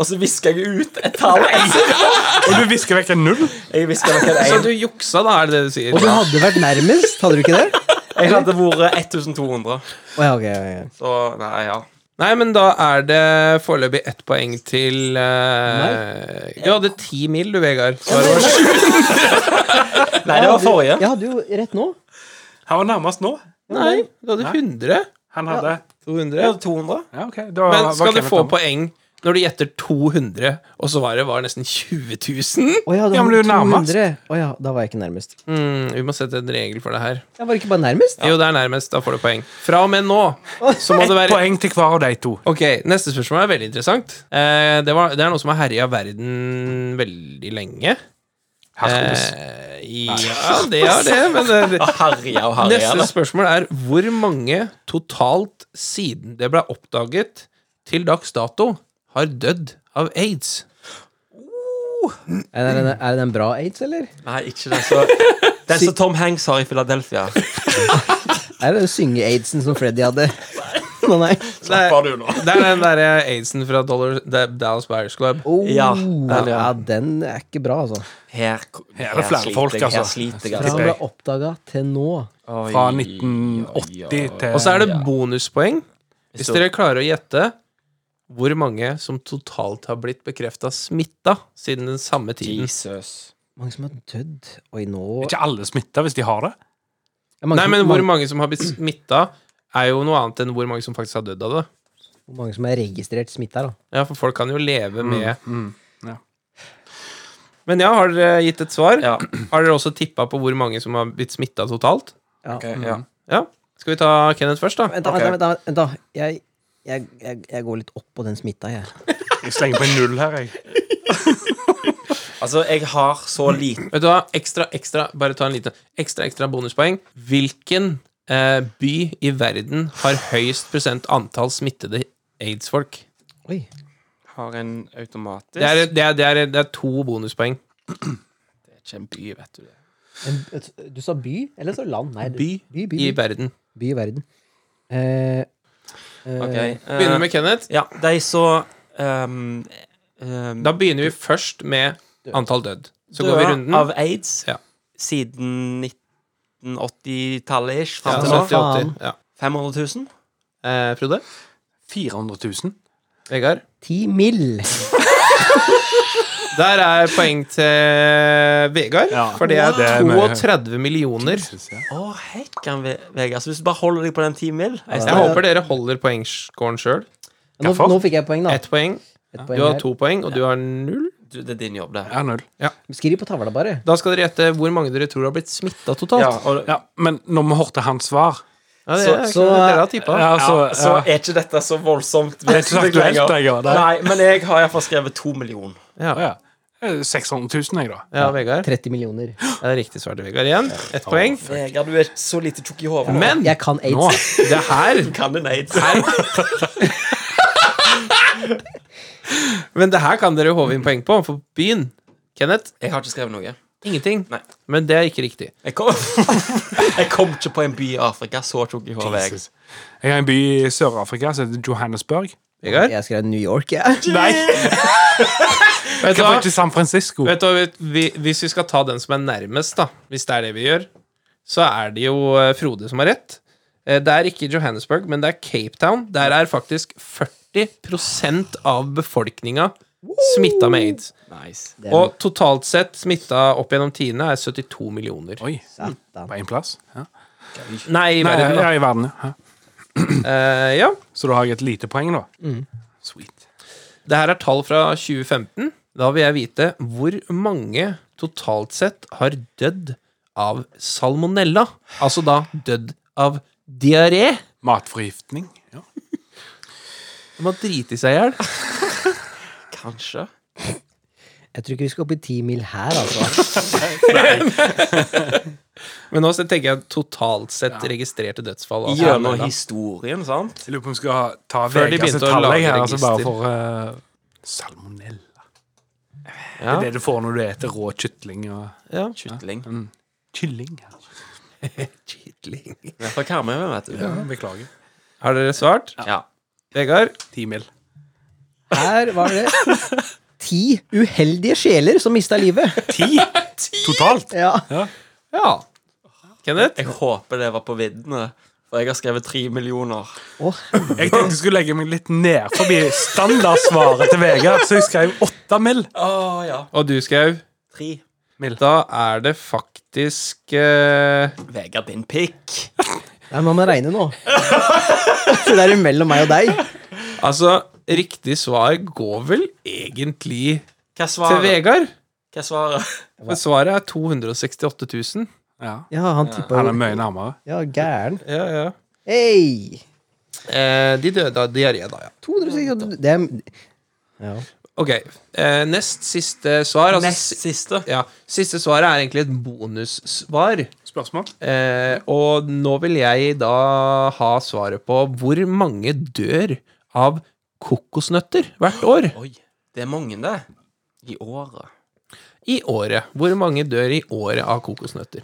D: og så viska jeg ut et tall.
E: Og du visker vekk en null?
D: Jeg viska vekk
B: Så
D: en
B: du juksa, da, er det det du sier?
C: Og du hadde vært nærmest, hadde du ikke det?
D: Jeg hadde vært 1200.
C: Å ja, ok. ja, ja.
D: Så nei, ja.
B: Nei, men da er det foreløpig ett poeng til eh, Du hadde ti mil, du, Vegard. Svaret var sju.
D: Nei, det var forrige.
C: Jeg hadde jo rett nå.
E: Han var nærmest nå.
B: Nei, du hadde 100.
E: Han hadde
B: 200.
D: Jeg hadde 200.
E: Ja, ok. Da
B: Men
E: var
B: skal du
E: Kenneth
B: få
E: nærmest.
B: poeng når du gjetter 200, og svaret var nesten 20 000?
C: Å ja, da
E: Ja, men
C: var
E: du er nærmest.
C: 200. Å ja, da var jeg ikke nærmest.
B: Mm, vi må sette en regel for det her.
C: Jeg var ikke bare nærmest.
B: Jo, det er nærmest. Da får du poeng. Fra og med nå så må
E: Ett
B: det være
E: poeng til hver av de to.
B: Ok, Neste spørsmål er veldig interessant. Eh, det, var, det er noe som har herja verden veldig lenge.
E: Herpes.
B: Eh, ja, det er det, men eh, det,
D: Herja og herja.
B: Neste spørsmål er hvor mange totalt siden det ble oppdaget til dags dato har dødd av aids.
C: Er det, den- er det den bra aids, eller?
D: Nei, ikke den som Den som Tom Hanks har i Philadelphia.
C: Er det den synge-aidsen som Freddy hadde? (laughs) Å nei.
D: Slapper du nå?
B: Det er den eh, derre aidsen fra Dollar, Da- Dallas Buyers Club.
C: Oh,
D: Ja,
C: ja,
D: den,
C: den,
D: ja.
C: er ikke bra, altså.
D: Her,
E: Her er det flere
D: sliter
E: folk,
D: jeg, Her
E: altså.
D: sliter jeg,
C: Fra
D: altså.
C: han ble oppdaga til nå.
D: Eh,
E: Fra 1980 til
B: Og så er det bonuspoeng hvis
D: Hvis du-
B: dere klarer å gjette hvor mange som totalt har blitt bekrefta smitta siden den samme tiden.
D: Jesus.
C: Mange som har dødd Oi, nå
E: Ikke alle smitta hvis de har det.
C: Ja, mange
B: Nei,
C: som-
B: men hvor
C: mange,
B: mange som har blitt smitta, er jo noe annet enn hvor mange som faktisk har dødd av det.
C: hvor mange som er registrert smitta, da.
B: Ja, for folk kan jo leve med
E: mm, ja.
B: Men ja, har dere gitt et svar?
D: Ja.
B: (clears throat) Har dere også tippa på hvor mange som har blitt smitta totalt?
C: Ja.
D: Ok, ja.
E: Mm.
B: Ja. Skal vi ta Kenneth først, da?
C: Vent, da, vent, da, vent, da, vent, da. Jeg, jeg, jeg, jeg går litt opp på den smitta, jeg.
E: Jeg slenger på en null her, jeg.
D: Altså, jeg har så lite
B: Vet du hva, ekstra, ekstra Bare ta en liten ekstra, ekstra bonuspoeng. Hvilken eh, by i verden har høyest prosent antall smittede aids-folk?
C: Oi.
D: Har en automatisk
B: Det er, det, er, det, er, det er to bonuspoeng.
D: ikke en by, vet du det.
C: En- Du sa by, eller så land? Nei, det-
B: By
C: by, by,
B: i
C: by,
B: verden.
C: by i verden. Eh, eh,
D: Ok.
B: Begynner vi med Kenneth.
D: Ja, de så ehm, ehm,
B: Da begynner vi først med antall dødd. Så går vi
D: døde
B: runden.
D: av aids
B: Ja.
D: siden 1980-tallet ish,
B: Ja,
D: fram til nå.
B: 70-80. Ja.
D: 500 000?
B: Eh, Frode?
E: 400 000.
B: Vegard?
C: Ti mill.
B: Der er poeng til Vegard,
E: Ja.
B: for det er
E: Det er mye.
B: 32 millioner.
E: Synes jeg.
D: Å, hekkan, Ve- Vegard. Så hvis du bare holder deg på den 10 mil jeg
B: Jeg
D: snakker-
B: håper dere holder poengscoren sjøl.
C: Nå,
E: Derfor?
C: nå fikk jeg poeng, da.
B: Ett poeng.
C: Et
B: Du
C: poeng
B: har
C: her.
B: to poeng, og du har null.
D: du, Det er din jobb, det.
E: Ja, null.
C: Skriv på tavla, bare.
B: Da skal dere gjette hvor mange dere tror har blitt smitta
D: Ja,
B: totalt.
D: og,
E: Ja, men når vi hørte hans svar
B: Ja, det
C: Så-
B: er,
C: så-
B: dere har tippa.
E: ja,
D: ja,
E: så,
D: så
E: ja.
D: er ikke dette så voldsomt.
E: Det er ikke så aktuelt, jeg. og det-
D: Nei, men jeg har iallfall skrevet to millioner.
B: Ja.
E: Ja. Eh, 600 000, jeg, da.
B: ja, Vegard.
C: 30 millioner.
B: Ja, det er riktig svar til Vegard igjen. Ett poeng.
D: Vegard, du er så lite tjukk i hodet.
B: Men
C: Jeg kan aids.
E: Nå.
B: det her
D: Kan en aids?
B: Men det her kan dere håve inn poeng på, for byen Kenneth
D: Jeg har ikke skrevet noe.
B: ingenting.
D: Nei.
B: Men det er ikke riktig.
D: Jeg kom, (laughs) jeg kom ikke på en by i Afrika. Så tjukk i hodet er jeg.
E: Jeg har en by i Sør-Afrika som heter Johannesburg.
B: Vegard?
C: Jeg skrev New York, jeg. Ja.
E: Nei,
B: Vet du
E: det
B: hva?
E: var ikke San Francisco.
B: Vet du, hva, vet- vi, hvis vi skal ta den som er nærmest, da, hvis det er det vi gjør, så er det jo eh, Frode som har rett. Eh, Det er ikke Johannesburg, men det er Cape Town. Der er faktisk 40 av befolkninga smitta med aids.
D: Nice.
B: Og totalt sett smitta opp gjennom tidene er 72 millioner.
E: Oi, på én plass? Ja.
B: Nei, i
E: Nei,
B: verden, da.
E: ja, i verden, ja.
B: Eh, ja.
E: Så da har jeg et lite poeng, da.
B: Mm.
E: Sweet.
B: Det her er tall fra 2015. Da vil jeg vite hvor mange totalt sett har dødd av salmonella. Altså da dødd av diaré.
E: Matforgiftning. Ja.
B: De har driti seg i hjel.
D: Kanskje.
C: Jeg tror ikke vi skal opp i ti mil her, altså.
B: Men nå tenker jeg totalt sett registrerte dødsfall. av
D: Gjennom
B: salmonella.
D: historien, sant?
E: Jeg lurer på om vi skal ta
B: Før de
E: Vegas
B: begynte å
E: tall
B: lage
E: jeg her, altså bare
B: register.
E: for eh, salmonella. Det
B: Ja.
E: er det du får når du spiser rå kylling og
B: Ja.
D: Kytling.
E: Kylling. ja.
D: Vi er fra Karmøy, vet du.
E: Ja, Beklager.
B: Har dere svart?
D: Ja.
B: Vegard?
E: Ti mil.
C: Her var det ti uheldige sjeler som mista livet.
E: Ti totalt?
C: Ja.
B: Ja. Kenneth?
D: Jeg håper det var på viddene, for jeg har skrevet tre millioner.
C: Åh,
E: Jeg tenkte jeg skulle legge meg litt ned forbi standardsvaret til Vegard, så jeg skrev åtte mil.
D: Å ja.
B: Og du, Skau?
D: Tre.
B: Da er det faktisk eh,
D: Vegard, din pikk.
C: Nei, man må regne nå. Så det er mellom meg og deg.
B: Altså, riktig svar går vel egentlig
D: Hva
B: til
D: svarer?
B: Vegard?
D: Hva (laughs) svarer?
B: For svaret er 268 000.
E: Ja.
C: Ja, han tippa
E: Han
C: jo
E: er mye nærmere.
C: Ja, gæren.
B: Ja, ja.
C: Hei!
B: Eh, de døde av diaré, da, ja.
C: 268 Det er ja.
B: Ok. Eh, nest siste svar altså,
D: Nest siste.
B: si- Ja, Siste svaret er egentlig et bonussvar.
E: Spørsmål?
B: Eh, og nå vil jeg da ha svaret på hvor mange dør av kokosnøtter hvert år?
D: Oi. Det er mange, det. I året.
B: I året. Hvor mange dør i året av kokosnøtter?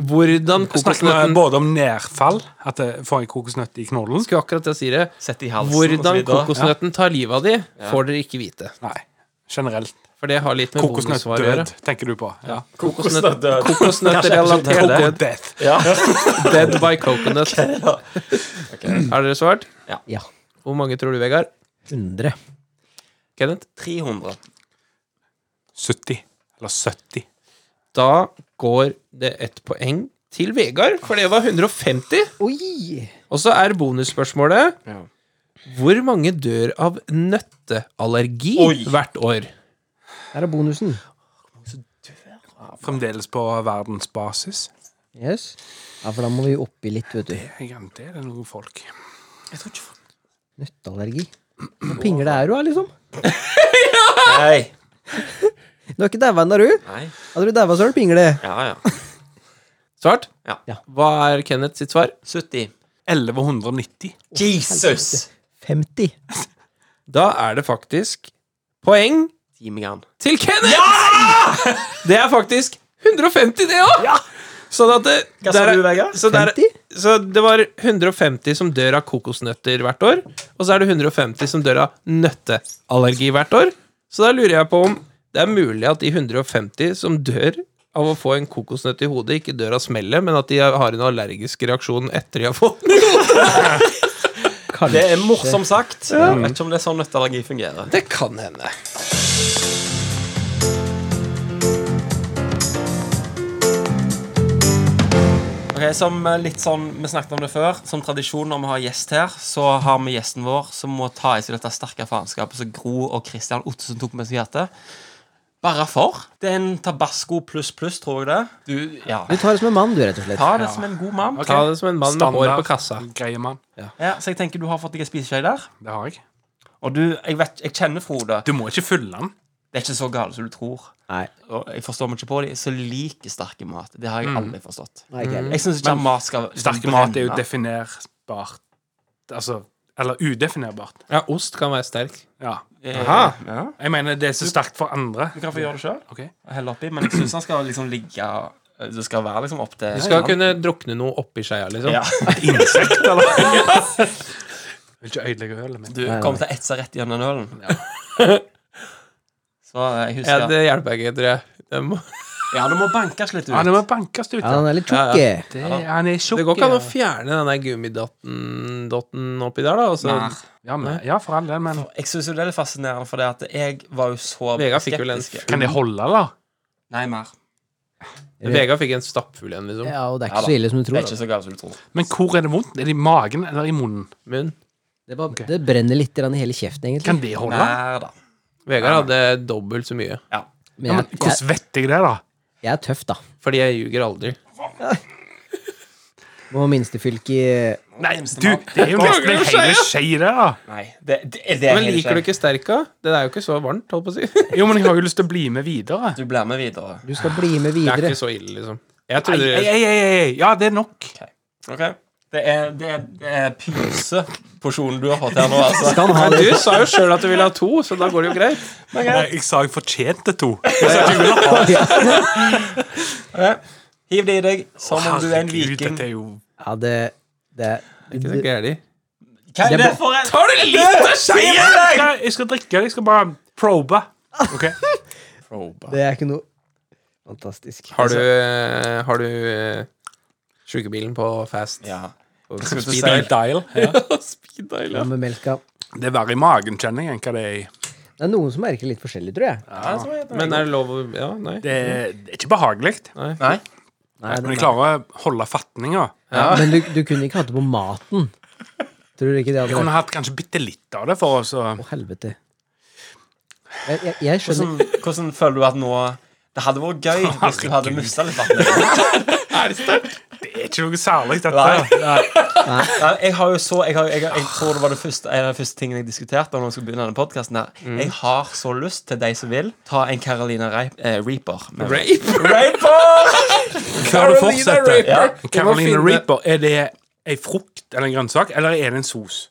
B: Hvordan
E: Snakker vi
B: kokosnøtten
E: både om nedfall, at det får en kokosnøtt i knollen
B: Skulle akkurat til å si det.
D: Sett i halsen og så
B: Hvordan
D: videre.
B: kokosnøtten tar livet av de, får dere ikke vite.
E: Nei, generelt.
B: For det har litt med bonussvar å gjøre.
E: Kokosnøttdød, tenker du på. Ja.
B: Kokosnøtt-
D: Kokosnøttdød.
B: Kokosnøttrelatert
D: Kanskje-
B: død.
E: Death.
D: (laughs) Ja.
B: Dead by coconut. Har dere svart?
C: Ja.
B: Hvor mange tror du, Vegard?
C: 100.
B: Kenneth?
D: 300.
E: 70. Eller 70.
B: Da går det ett poeng til Vegard, for det var 150.
C: Oi!
B: Og så er bonusspørsmålet
D: Ja.
B: Hvor mange dør av nøtteallergi
D: Oi.
B: hvert år?
C: Der er bonusen.
E: Fremdeles på verdensbasis.
C: Yes. Ja, for da må vi oppi litt, vet du.
E: Jeg glemte det, det er noen folk.
D: Jeg tror ikke
C: Nøtteallergi. Hvor pinger det er du, da, liksom?
D: Nei.
C: Du har ikke daua ennå, du?
D: Nei.
C: Hadde du daua, så er det pingle.
D: Ja, ja.
B: Svart?
D: Ja.
C: Ja.
B: Hva er Kenneth sitt svar?
D: 70.
E: 1190.
D: Jesus!
C: 50.
B: Da er det faktisk poeng
D: Timegan.
B: til Kenneth! Det er faktisk 150, det òg! Sånn at det,
D: Hva sa
B: der er-
D: du, Vegard?
B: Så, der,
C: 50?
B: så det var 150 som dør av kokosnøtter hvert år, og så er det 150 som dør av nøtteallergi hvert år. Så da lurer jeg på om det er mulig at de 150 som dør av å få en kokosnøtt i hodet, ikke dør av smellet, men at de har en allergisk reaksjon etter de har fått den.
C: Kanskje.
D: Det er morsomt sagt. Jeg vet ikke om det er sånn nøtteallergi fungerer.
B: Det kan hende.
D: Ok, som eh, litt sånn, Vi snakket om det før. Som tradisjon når vi har gjest her, så har vi gjesten vår som må ta i seg dette sterke faenskapet som Gro og Christian Ottesen tok med seg i hjertet. Bare for. Det er en tabasco pluss pluss, tror jeg det. Du, ja.
C: Du tar det som en mann, du, rett og slett.
D: Ta det som en god mann.
B: Ta det som en mann med hår på kassa.
E: Greie mann.
D: Ja, så jeg tenker du har fått deg en spiseskje der.
E: Det har jeg.
D: Og du, jeg, vet, jeg kjenner Frode.
E: Du må ikke fylle den.
D: Det er ikke så galt som du tror.
C: Nei.
D: Og jeg forstår meg ikke på det. Så liker sterke mat. Det har jeg aldri forstått.
C: Nei, ikke heller.
D: Jeg syns ikke at mat skal
E: Mm. Sterk mat er jo definerbart. Altså Eller udefinerbart.
B: Ja, ost kan være sterk.
E: Ja.
D: Aha. Eh, Ja.
E: Jeg mener, det er så sterkt for andre.
D: Du kan få gjøre det sjøl.
E: Ok.
D: Helle oppi. Men jeg syns han skal liksom ligge Det skal være liksom opp til
B: Du skal kunne drukne noe oppi skeia, liksom.
D: ja.
E: Insekt, eller? Vil ikke ødelegge ølet mitt.
D: Du kommer til å etse rett gjennom ølen. Så jeg
B: Ja,
D: husker
B: det hjelper ikke, tror jeg. Det, må,
D: Ja, du må bankes litt ut.
E: Han må bankes ut.
C: Ja, han er litt tjukk. eh. jeg.
E: Det, han er tjukk.
B: det går ikke an å fjerne den der gummidotten dotten oppi der, da. Altså, og så-
D: Nei.
E: ja, men, ja, for all del, men
D: Jeg syns jo det er litt fascinerende, for det at jeg var jo så
B: Vegard fikk vel en
D: skeptisk.
E: Kan de holde, eller?
D: Nei, mer.
B: Vegard fikk en stappfull en, liksom.
C: Ja, og det er
D: Ja
C: ikke
D: da.
C: så ille som du
D: Det
C: tror. altså.
D: er ikke så galt som du tror.
E: Men hvor er det vondt? Er det i magen eller i munnen?
B: Munn.
C: Det, bare, det brenner litt grann i hele kjeften, egentlig.
E: Kan det holde?
D: Nei da.
B: Vegard hadde dobbelt så mye.
D: Ja.
E: Ja,
C: Men
E: men,
C: jeg, jeg,
E: hvordan vet jeg det, da?
C: jeg er tøff, da.
B: Fordi jeg ljuger aldri.
C: Må minstefylke i
E: Nei, du, det er jo nesten en hel skje, det, da.
D: Nei, det, det, det er
B: Men
D: helt
B: liker du
D: skjevt.
B: ikke sterka? Det er jo ikke så varmt, holdt på å si. Det
E: Jo, men jeg har jo lyst til å bli med videre.
D: Du blir med videre.
C: Du skal bli med
B: er
C: videre.
B: ikke så ille, liksom. Jeg
E: Ei,
B: trodde
E: ei, ei, ei, ei. Ja, det er nok.
D: Ok? Det er, det er, det er pyseporsjonen du har fått her nå, altså.
C: Skal han ha
B: Men
C: det?
B: du sa jo sjøl at du ville ha to, så da går det jo greit.
E: Nei, jeg sa jeg fortjente to.
D: Hiv det i deg som om du er en
E: Herregud,
D: viking.
E: dette er jo
C: Ja, det, det
B: Ikke så gærlig.
D: Hva er det
C: Det-
D: for en
B: Har du litt av
E: Jeg
B: skeia?!
E: skal, jeg skal drikke det. Jeg skal bare probe. Ok (laughs)
C: Det er ikke noe Fantastisk. Altså,
B: Har du, eh, har du eh, sjukebilen på fast?
D: Ja.
B: På
D: Skulle du
B: speed
D: si-
B: dial?
E: Dial. Ja.
B: Speed dial, ja.
C: Hva med melka?
E: Det er verre i magen, kjenner jeg, enn hva det er i
C: Det er noen som merker litt forskjellig, tror jeg.
B: Men er det lov å Ja, nei.
E: Det er, det er ikke behagelig.
D: Nei?
C: Nei,
E: Men
C: det,
E: jeg klarer å holde fatninga.
C: men du, du kunne ikke hatt det på maten. Tror du ikke det
E: Jeg
C: hadde
E: kunne
C: vært
E: hatt kanskje bitte litt av det for oss.
C: Å, helvete. Jeg, jeg, jeg skjønner
D: Hvordan, hvordan føler du at nå Det hadde vært gøy hvis du hadde mista litt vann.
E: Det er ikke noe særlig,
D: Nei.
E: dette.
D: Ja, Jeg har jo så Jeg, har, jeg, jeg tror det var det første, en av de første tingene jeg diskuterte Når jeg skulle begynne denne podcasten her.
B: Mm.
D: Jeg har så lyst til de som vil, ta en Carolina Reip, eh, Reaper. med-
B: Rape!
D: Reaper!
E: Før du fortsetter.
D: Ja.
B: Vi må
E: Carolina
B: finne-
E: Reaper, er det ei frukt eller en grønnsak, eller er det en sos?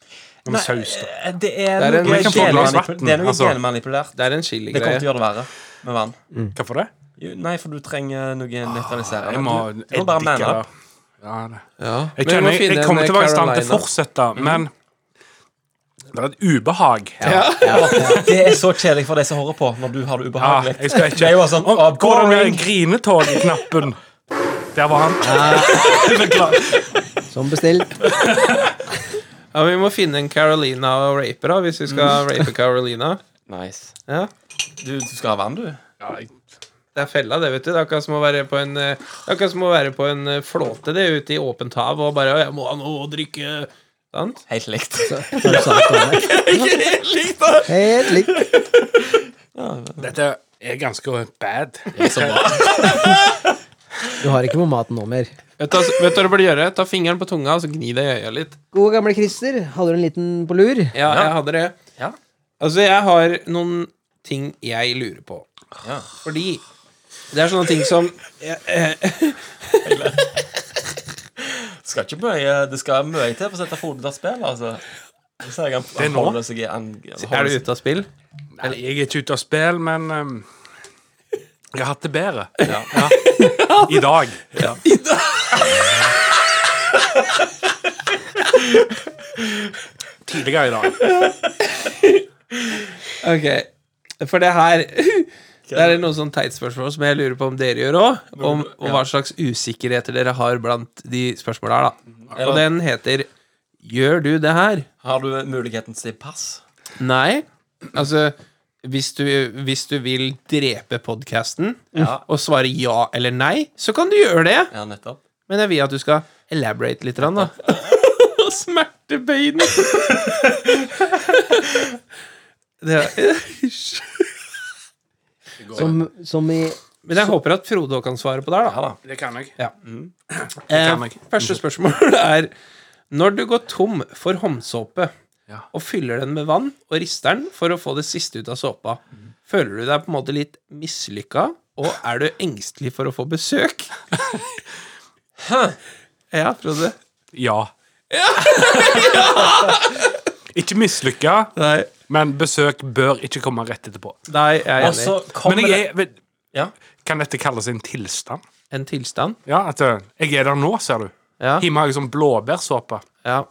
E: Som
D: Nei,
E: saus, da.
D: eh, Det er
B: Det er en-
D: noe
B: vi kan få et
E: glass
D: genmanipul-
E: vann,
D: det er noe
E: altså.
D: genmanipulert.
B: Det er en
D: Det kommer til
B: chiligreie.
D: å gjøre det verre med vann.
E: Hvorfor det?
D: Jo, Nei, for du trenger noe nøytraliserende.
E: Ah, Jeg må
D: Du- du må bare manne
E: eller-
D: opp.
E: Ja, det.
B: Ja. Men
E: Jeg,
B: vi må
E: kjenner, jeg,
B: finne
E: jeg kommer
B: en
E: til å være i stand til å
B: Carolina.
E: fortsette,
D: Mhm.
E: men det er et ubehag.
D: Det er så kjedelig for de som hører på, når du har det
E: Ja,
D: ubehagelig.
E: Ah, jeg skal ikke
D: Det er jo bare sånn,
E: Om-
D: ah,
E: Går det med
D: boring.
E: den grinetog-knappen? Der var han.
C: Som bestilt.
B: Ja, vi må finne en Carolina å rape, da, hvis vi skal rape Carolina.
F: Nice.
B: Ja.
D: Du, du skal ha vann, du?
E: (laughs) Ja, jeg-
B: Det er fella, det, vet du. Det er akkurat som å være på en, eh, det er akkurat som å være på en eh, flåte det ute i åpent hav og bare «Å, 'Jeg må ha noe å drikke'. Sant?
D: Helt (laughs) likt.
C: Som du sa det til meg. Helt likt.
E: Dette er ganske bad.
C: Du har ikke på maten nå mer.
B: Vet du, hva- vet du hva du burde gjøre? Ta fingeren på tunga og så gni deg i øya litt.
C: Gode gamle Christer, hadde du en liten på lur?
B: Ja, jeg hadde det.
D: Ja.
B: Altså, jeg har noen ting jeg lurer på.
D: Ja.
B: Fordi det er sånne ting som
D: Skal ikke mye, det skal mye til for å sette foten til spill, altså. Så jeg han, han
E: nå.
D: holder seg i han, han
B: Er
D: holder
B: du
D: seg.
B: ute av spill?
E: Nei, jeg er ikke ute av spill, men ehm, jeg har hatt det bedre. Ja. I dag. Tidligere i dag.
B: Ok. For det (laughs) her Det er noen sånn teit spørsmål som jeg lurer på om dere gjør òg. Om, om hva slags usikkerheter dere har blant de spørsmåla her, da. Og den heter Gjør du det her?
D: Har du muligheten til å si pass?
B: Nei. Altså hvis du, hvis du vil drepe podkasten
D: Ja.
B: og svare ja eller nei, så kan du gjøre det.
D: Ja, nettopp.
B: Men jeg vil at du skal elaborate litt, grann, (laughs) da. Smertebøyden! (laughs) det (laughs) Hysj.
C: Som, som i
B: Men jeg håper at Frode også kan svare på det her, da.
E: Det kan jeg. kan
B: Eh,
E: jeg.
B: første spørsmål (laughs) er Når du går tom for håndsåpe
E: Ja.
B: og fyller den med vann og rister den for å få det siste ut av såpa, føler du deg på en måte litt mislykka, og er du engstelig for å få besøk?
E: (laughs)
B: ja, Frode.
E: Ja. (laughs) Ikke mislykka,
B: Nei,
E: men besøk bør ikke komme rett etterpå.
B: nei jeg er
D: Og
B: enig.
D: så
E: Men
D: kommer
E: jeg er vet-
D: Ja.
E: Kan dette kalles en tilstand?
B: En tilstand.
E: Ja, at eh, jeg er der nå, ser du.
B: Ja,
E: Hjemme har jeg sånn blåbærsåpe.
B: ja,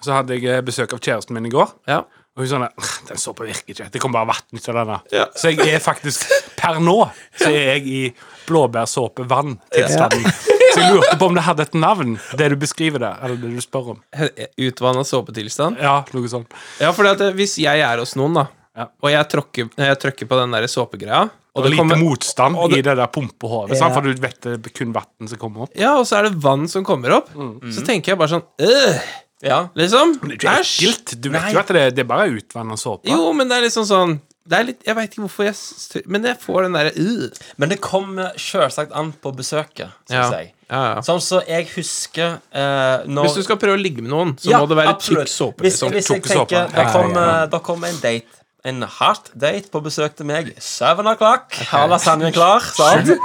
E: Så hadde jeg eh, besøk av kjæresten min i går.
B: ja.
E: Og hun sånn «Åh, Den såpa virker ikke. Det kom bare vann ut av den. der.» Så jeg er faktisk Per nå så er jeg i blåbærsåpevann-tilstanden. Så jeg lurte på om det hadde et navn, det du beskriver der. Eller det du spør om.
B: Utvanna såpetilstand.
E: Ja, noe sånt.
B: Ja, for at eh, hvis jeg er hos noen, da,
E: Ja.
B: og jeg tråkker, eh, jeg trykker på den der såpegreia
E: Og lite
B: kommer,
E: motstand
B: og det-
E: i det der pumpehodet, sant?
C: Ja.
E: for du vet det er kun vann som kommer opp.
B: Ja, og så er det vann som kommer opp, så tenker jeg bare sånn øh,
D: Mm. Ja.
B: Liksom.
E: Det er
B: Æsj.
E: ekkelt. Du vet jo at det, det er bare utvanna såpe.
B: Jo, men det er liksom sånn det er litt, Jeg veit ikke hvorfor jeg styr, Men jeg får den derre øh.
D: Men det kommer selvsagt an på besøket, skal
B: Ja.
D: jeg si.
B: Ja, ja.
D: Sånn som jeg husker eh, når
B: Hvis du skal prøve å ligge med noen, så
D: Ja,
B: må det være
D: absolutt.
B: tykk såpe.
D: Hvis,
B: Liksom.
D: hvis jeg
E: Tjukke såpe.
D: tenker,
E: Ja,
D: da
E: ja,
D: kom, eh, da kom en date. En hardt date på besøk til meg. Seven o'clock. Har lasagnen klar. Sant?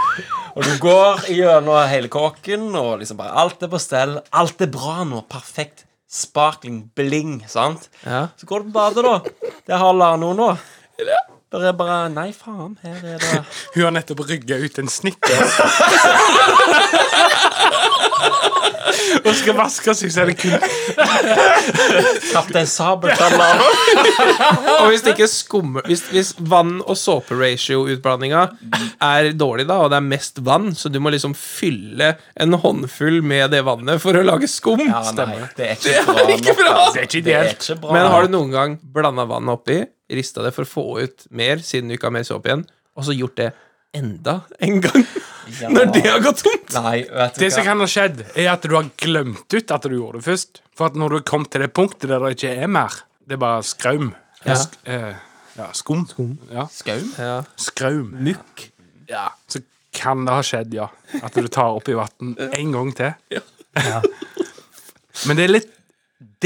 D: Og du går gjennom hele kåken, og liksom bare alt er på stell. Alt er bra nå. Perfekt. Sparkling. Bling. Sant?
B: Ja.
D: Så går du på badet, da. Der har Lano nå. Der er bare Nei, faen. Her er det
E: Hun har nettopp rygga ut
B: (laughs)
E: en snikker. og skal vaske seg, så er det kun
D: Kaptein Sabeltann-Lano.
B: Og hvis det ikke skummer Hvis, hvis vann- og såperatio-utblandinga er dårlig, da, og det er mest vann, så du må liksom fylle en håndfull med det vannet for å lage skum
D: Ja, nei, det er ikke bra.
B: ikke
D: nok,
B: bra.
D: altså.
E: Det er ikke
D: Det er
E: ideelt.
D: ikke bra.
B: Men har du noen gang blanda vann oppi, rista det for å få ut mer, siden du ikke har mer såpe igjen, og så gjort det enda en gang? (laughs)
D: Ja.
B: Når det har gått tomt?
D: Nei, vet du
E: Det som
D: hva.
E: kan ha skjedd, er at du har glemt ut at du gjorde det først. For at når du kom til det punktet der det ikke er mer, det er bare skraum.
B: Ja.
E: Sk eh, ja, skum. Ja.
D: Skaum?
B: Ja.
E: Skraum. Mykk. Ja. Så kan det ha skjedd, ja. At du tar oppi vann en gang til. Men det er litt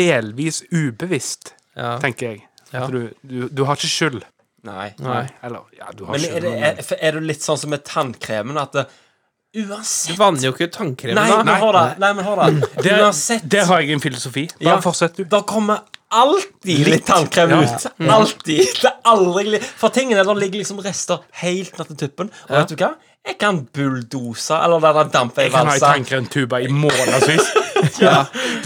E: delvis ubevisst,
B: Ja.
E: tenker jeg.
B: Ja.
E: At du, du, du har ikke skyld.
D: Nei.
E: Eller ja, du
D: Men
E: har
D: er
E: skyld.
D: det, er, for er det litt sånn som med tannkremen at det,
B: Du
D: Uansett
B: vanner jo ikke ut tannkremen,
D: Nei,
B: da.
E: (clears throat)
D: men hør da. Nei, men hør da.
E: Der,
D: Uansett,
E: der har jeg en filosofi. Bare
D: Ja.
E: fortsett, du.
D: da kommer alltid litt tannkrem ut.
E: Mm.
D: Alltid. Det er aldri li- For tingene der ligger liksom rester helt ned til tuppen. Og vet du hva? Jeg kan bulldose eller la den dampe i
E: Jeg kan ha ei
D: valsa.
E: tannkremtube i månedsvis. (laughs) ja.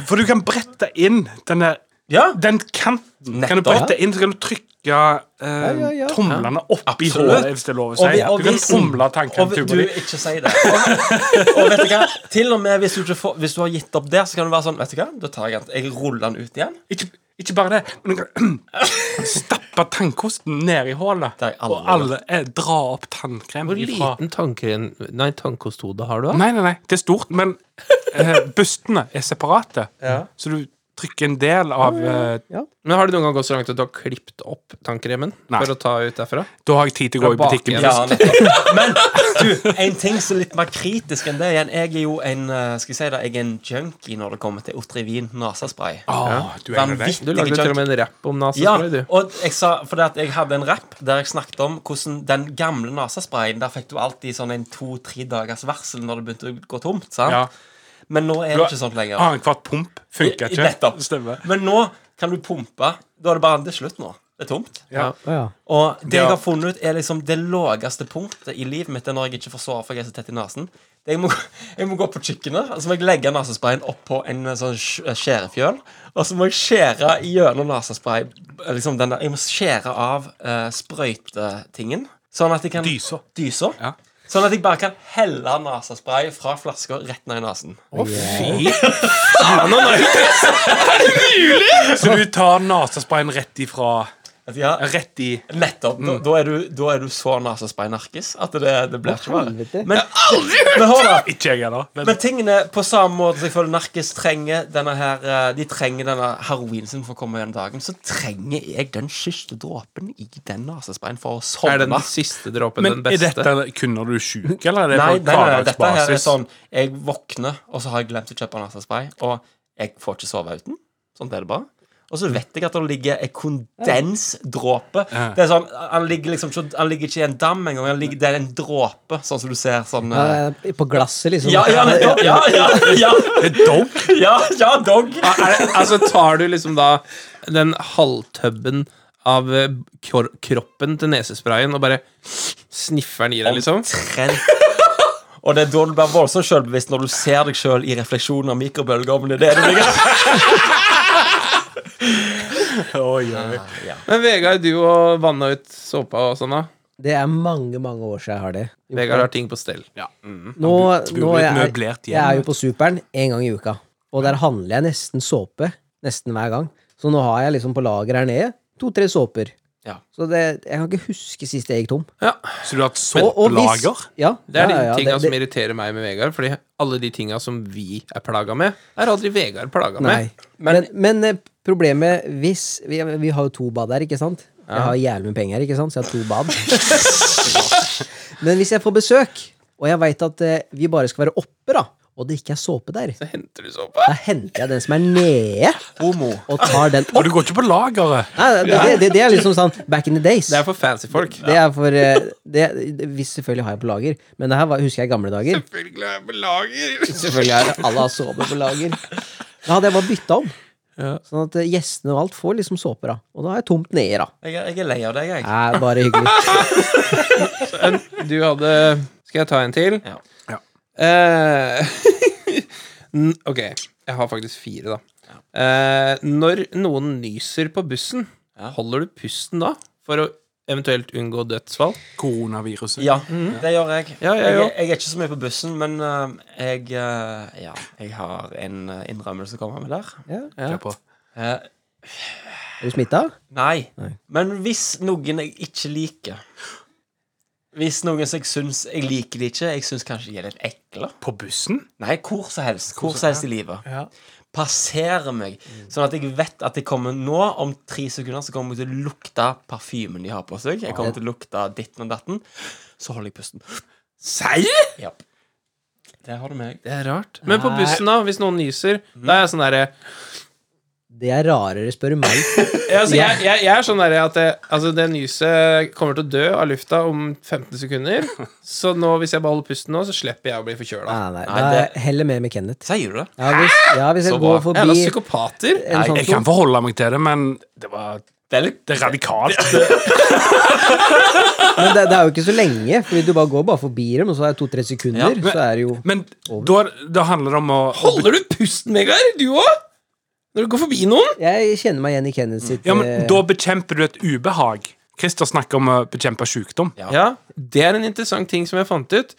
E: For du kan brette inn den der
D: altså. Ja.
E: Den kanten kan du
D: Nettopp.
E: brette inn, så kan du trykke eh,
C: ja, ja.
E: tomlene opp i
D: Absolutt.
E: håret, hvis det er lov å si.
D: Og vi- og
E: du kan
D: hvis-
E: tomle
D: Og du,
E: tannkremtuben din.
D: ikke si det. (laughs) Og, og vet du hva? Til og med hvis du, ikke får, hvis du har gitt opp der, så kan du være sånn Vet du hva? Da tar jeg den. Jeg ruller den ut igjen.
E: Ikke, ikke bare det, men du kan (clears throat) stappe tannkosten ned i hullet,
D: Det har jeg
E: og
D: aldri
E: alle eh, dra opp tannkrem
B: Hvor
E: ifra
B: liten tannkrem Nei, tannkosthode har du, da?
E: Nei, nei, nei, det er stort, men eh, bustene er separate, så du trykker en del av eh,
B: Men har du noen gang gått så langt at du har klippet opp tannkremen
E: Nei.
B: for å ta ut derfra?
E: Da har jeg tid til å gå i
B: Fra
E: butikken.
B: baken.
D: Ja, nettopp. Men du, en ting som er litt mer kritisk enn det igjen Jeg er jo en eh, skal jeg si det, jeg er en junkie når det kommer til Otrivin nasespray.
E: Åh, Ah, du er en av de.
B: Du lagde
D: Vanvittig
B: til og
D: junkie.
B: med en rapp om
D: Ja,
B: nasespray, du.
D: og jeg sa fordi at jeg hadde en rapp der jeg snakket om hvordan den gamle nasesprayen Der fikk du alltid sånn en to-tre dagers varsel når det begynte å gå tomt. sant?
E: Ja.
D: Men nå er det
E: Du har-
D: ikke sånn lenger.
E: Annenhvert pump funker ikke.
D: Nettopp.
E: Stemmer.
D: Men nå kan du pumpe. Da er det bare det er slutt nå. Det er tomt.
C: Å ja.
D: Og det
E: Ja.
D: jeg har funnet ut, er liksom det laveste punktet i livet mitt. Det er når jeg ikke får sove for jeg er så tett i nesen. Det Jeg, må- jeg må gå (laughs) på kjøkkenet og så må jeg legge nesesprayen oppå en eh, sånn sk- eh, skjærefjøl. Og så må jeg skjære gjennom nesespray. eh, Liksom den der, jeg må skjære av eh, sprøytetingen. Sånn at jeg kan
E: Dysa.
D: Dysa.
E: Ja.
D: Sånn at jeg bare kan helle nesespray fra flasker rett ned i nesen.
E: Så du tar nasesprayen rett ifra
D: Ja,
E: Rett i
D: Nettopp. Da,
E: Mm.
D: da, er du, da er du så nasespraynarkis at det, det blir ikke verre.
C: helvete.
D: Men, men hør da.
E: Ikke jeg heller. Men
D: Men tingene på samme måte som jeg føler narkis trenger denne her eh, De trenger denne heroinen sin for å komme gjennom dagen, så trenger jeg den siste dråpen i den nesesprayen for å sovne.
B: Er den siste dråpen
E: men
B: den
E: er
B: beste?
E: dette kun når du er sjuk, eller er det
D: Nei,
E: på
D: nei, nei, dette her er
E: hverdagsbasis?
D: sånn Jeg våkner, og så har jeg glemt å kjøpe nesespray, og jeg får ikke sove uten. Sånn er det bare. Og så vet jeg at det ligger en kondensdråpe.
E: Ja.
D: Det er sånn, Han ligger liksom ikke, han ligger ikke i en dam engang. han ligger- Det er en dråpe, sånn som du ser sånn
C: Ja,
D: eh,
C: det er På glasset, liksom.
D: Ja, ja, nettopp, ja, ja,
E: (laughs)
D: ja,
E: Det er dog.
D: ja, ja, dog.
B: Er det- altså, tar du liksom da den halvtubben av eh, kor kroppen til nesesprayen og bare sniffer den i deg, liksom?
D: Trent. Og det er da du blir voldsomt selvbevisst når du ser deg sjøl i refleksjonen av mikrobølgeovnen. Det er det du ligger
B: Men Vegard, du og vanna ut såpa og sånn, da?
C: Det er mange, mange år siden jeg har det.
B: Vegard har ting på stell.
C: Nå, nå
E: blir
C: er
E: et
C: jeg,
E: møblert hjem.
C: jeg er jo på Superen en gang i uka, og der handler jeg nesten såpe. Nesten hver gang. Så nå har jeg liksom på lager her nede to-tre såper.
D: Ja.
C: Så det, jeg kan ikke huske sist jeg gikk tom.
E: Så du har et
C: Og- og hvis-
E: såpelager?
C: Ja,
B: Det er altså,
C: ja, ja, ja,
B: de tinga
C: det-
B: som irriterer meg med Vegard, Fordi alle de tinga som vi er plaga med, er aldri Vegard plaga med.
C: Nei. Men, men eh, problemet hvis vi, vi har jo to bad her, ikke sant? Jeg har jævlig med penger, ikke sant? så jeg har to bad. (laughs) men hvis jeg får besøk, og jeg veit at eh, vi bare skal være oppe, da, og det ikke er såpe der,
B: Så henter du såpa.
C: da henter jeg den som er nede,
D: Homo.
C: og tar den
E: Og
C: opp.
E: du går ikke på lageret?
C: Nei, det, det, det, det er liksom sånn back in the days.
B: Det er for fancy folk.
C: Det er for eh, det, det, Hvis selvfølgelig har jeg på lager, men det her var, husker jeg i gamle dager.
B: Selvfølgelig er jeg på lager.
C: Selvfølgelig er det alle har såpe på lager. Da hadde jeg bare bytta om. Sånn at eh, gjestene og alt får liksom såper, da. Og da er jeg tomt nedi, da.
D: Jeg, er- jeg er lei av deg, jeg.
C: Nei, bare hyggelig.
B: Du hadde Skal jeg ta en til?
D: Ja.
E: Ja.
B: Eh, (laughs) n- ok, jeg har faktisk fire, da. Eh, når noen nyser på bussen, holder du pusten da? For å eventuelt unngå dødsfall?
E: Koronaviruset.
D: Ja, det gjør jeg.
B: Mm. Ja, jeg
D: jeg,
B: òg.
D: jeg er ikke så mye på bussen, men eh, jeg eh, Ja, jeg har en eh, innrømmelse å komme med der.
E: Kjør på.
D: Eh,
C: Er du smitta?
D: nei. Men hvis noen jeg ikke liker Hvis noen som jeg syns jeg liker de ikke Jeg syns kanskje de er litt ekle.
E: På bussen?
D: Nei, hvor som helst. Hvor som helst i livet. Passerer meg. Sånn at jeg vet at jeg kommer nå, om tre sekunder, så kommer jeg til å lukte parfymen de har på seg. Jeg kommer til å lukte ditten og datten. Så holder jeg pusten.
B: Serr?!
D: Ja. Der har du meg.
B: Det er rart. Men på bussen, da, hvis noen nyser, da er jeg sånn derre
C: Det er rarere, spør du meg.
B: Ja, altså, jeg, jeg, jeg er sånn der at det, altså, det nyset kommer til å dø av lufta om 15 sekunder. Så nå, hvis jeg bare holder pusten nå, så slipper jeg å bli forkjøla.
C: Nei, nei,
D: Nei,
C: da
D: det-
C: heller med med Kenneth.
D: Sier du det?
C: Ja, hvis, ja, hvis jeg går
B: Jeg er
C: forbi
B: da psykopater.
C: en sånn
E: Jeg kan forholde meg til det, men det, var,
D: Det er litt
E: det er radikalt. Det,
C: Men det, det er jo ikke så lenge, Fordi du bare går bare forbi dem, og så er det to-tre sekunder.
D: Ja,
C: så er det jo
E: men da, da handler det om å
B: Holder du pusten, Vegard? Du òg? Når du går forbi noen?
C: Jeg kjenner meg igjen i Kenneth sitt
E: Ja,
C: eh,
E: men da bekjemper du et ubehag. Christer snakker om å bekjempe sykdom.
B: Ja, det er en interessant ting som jeg fant ut.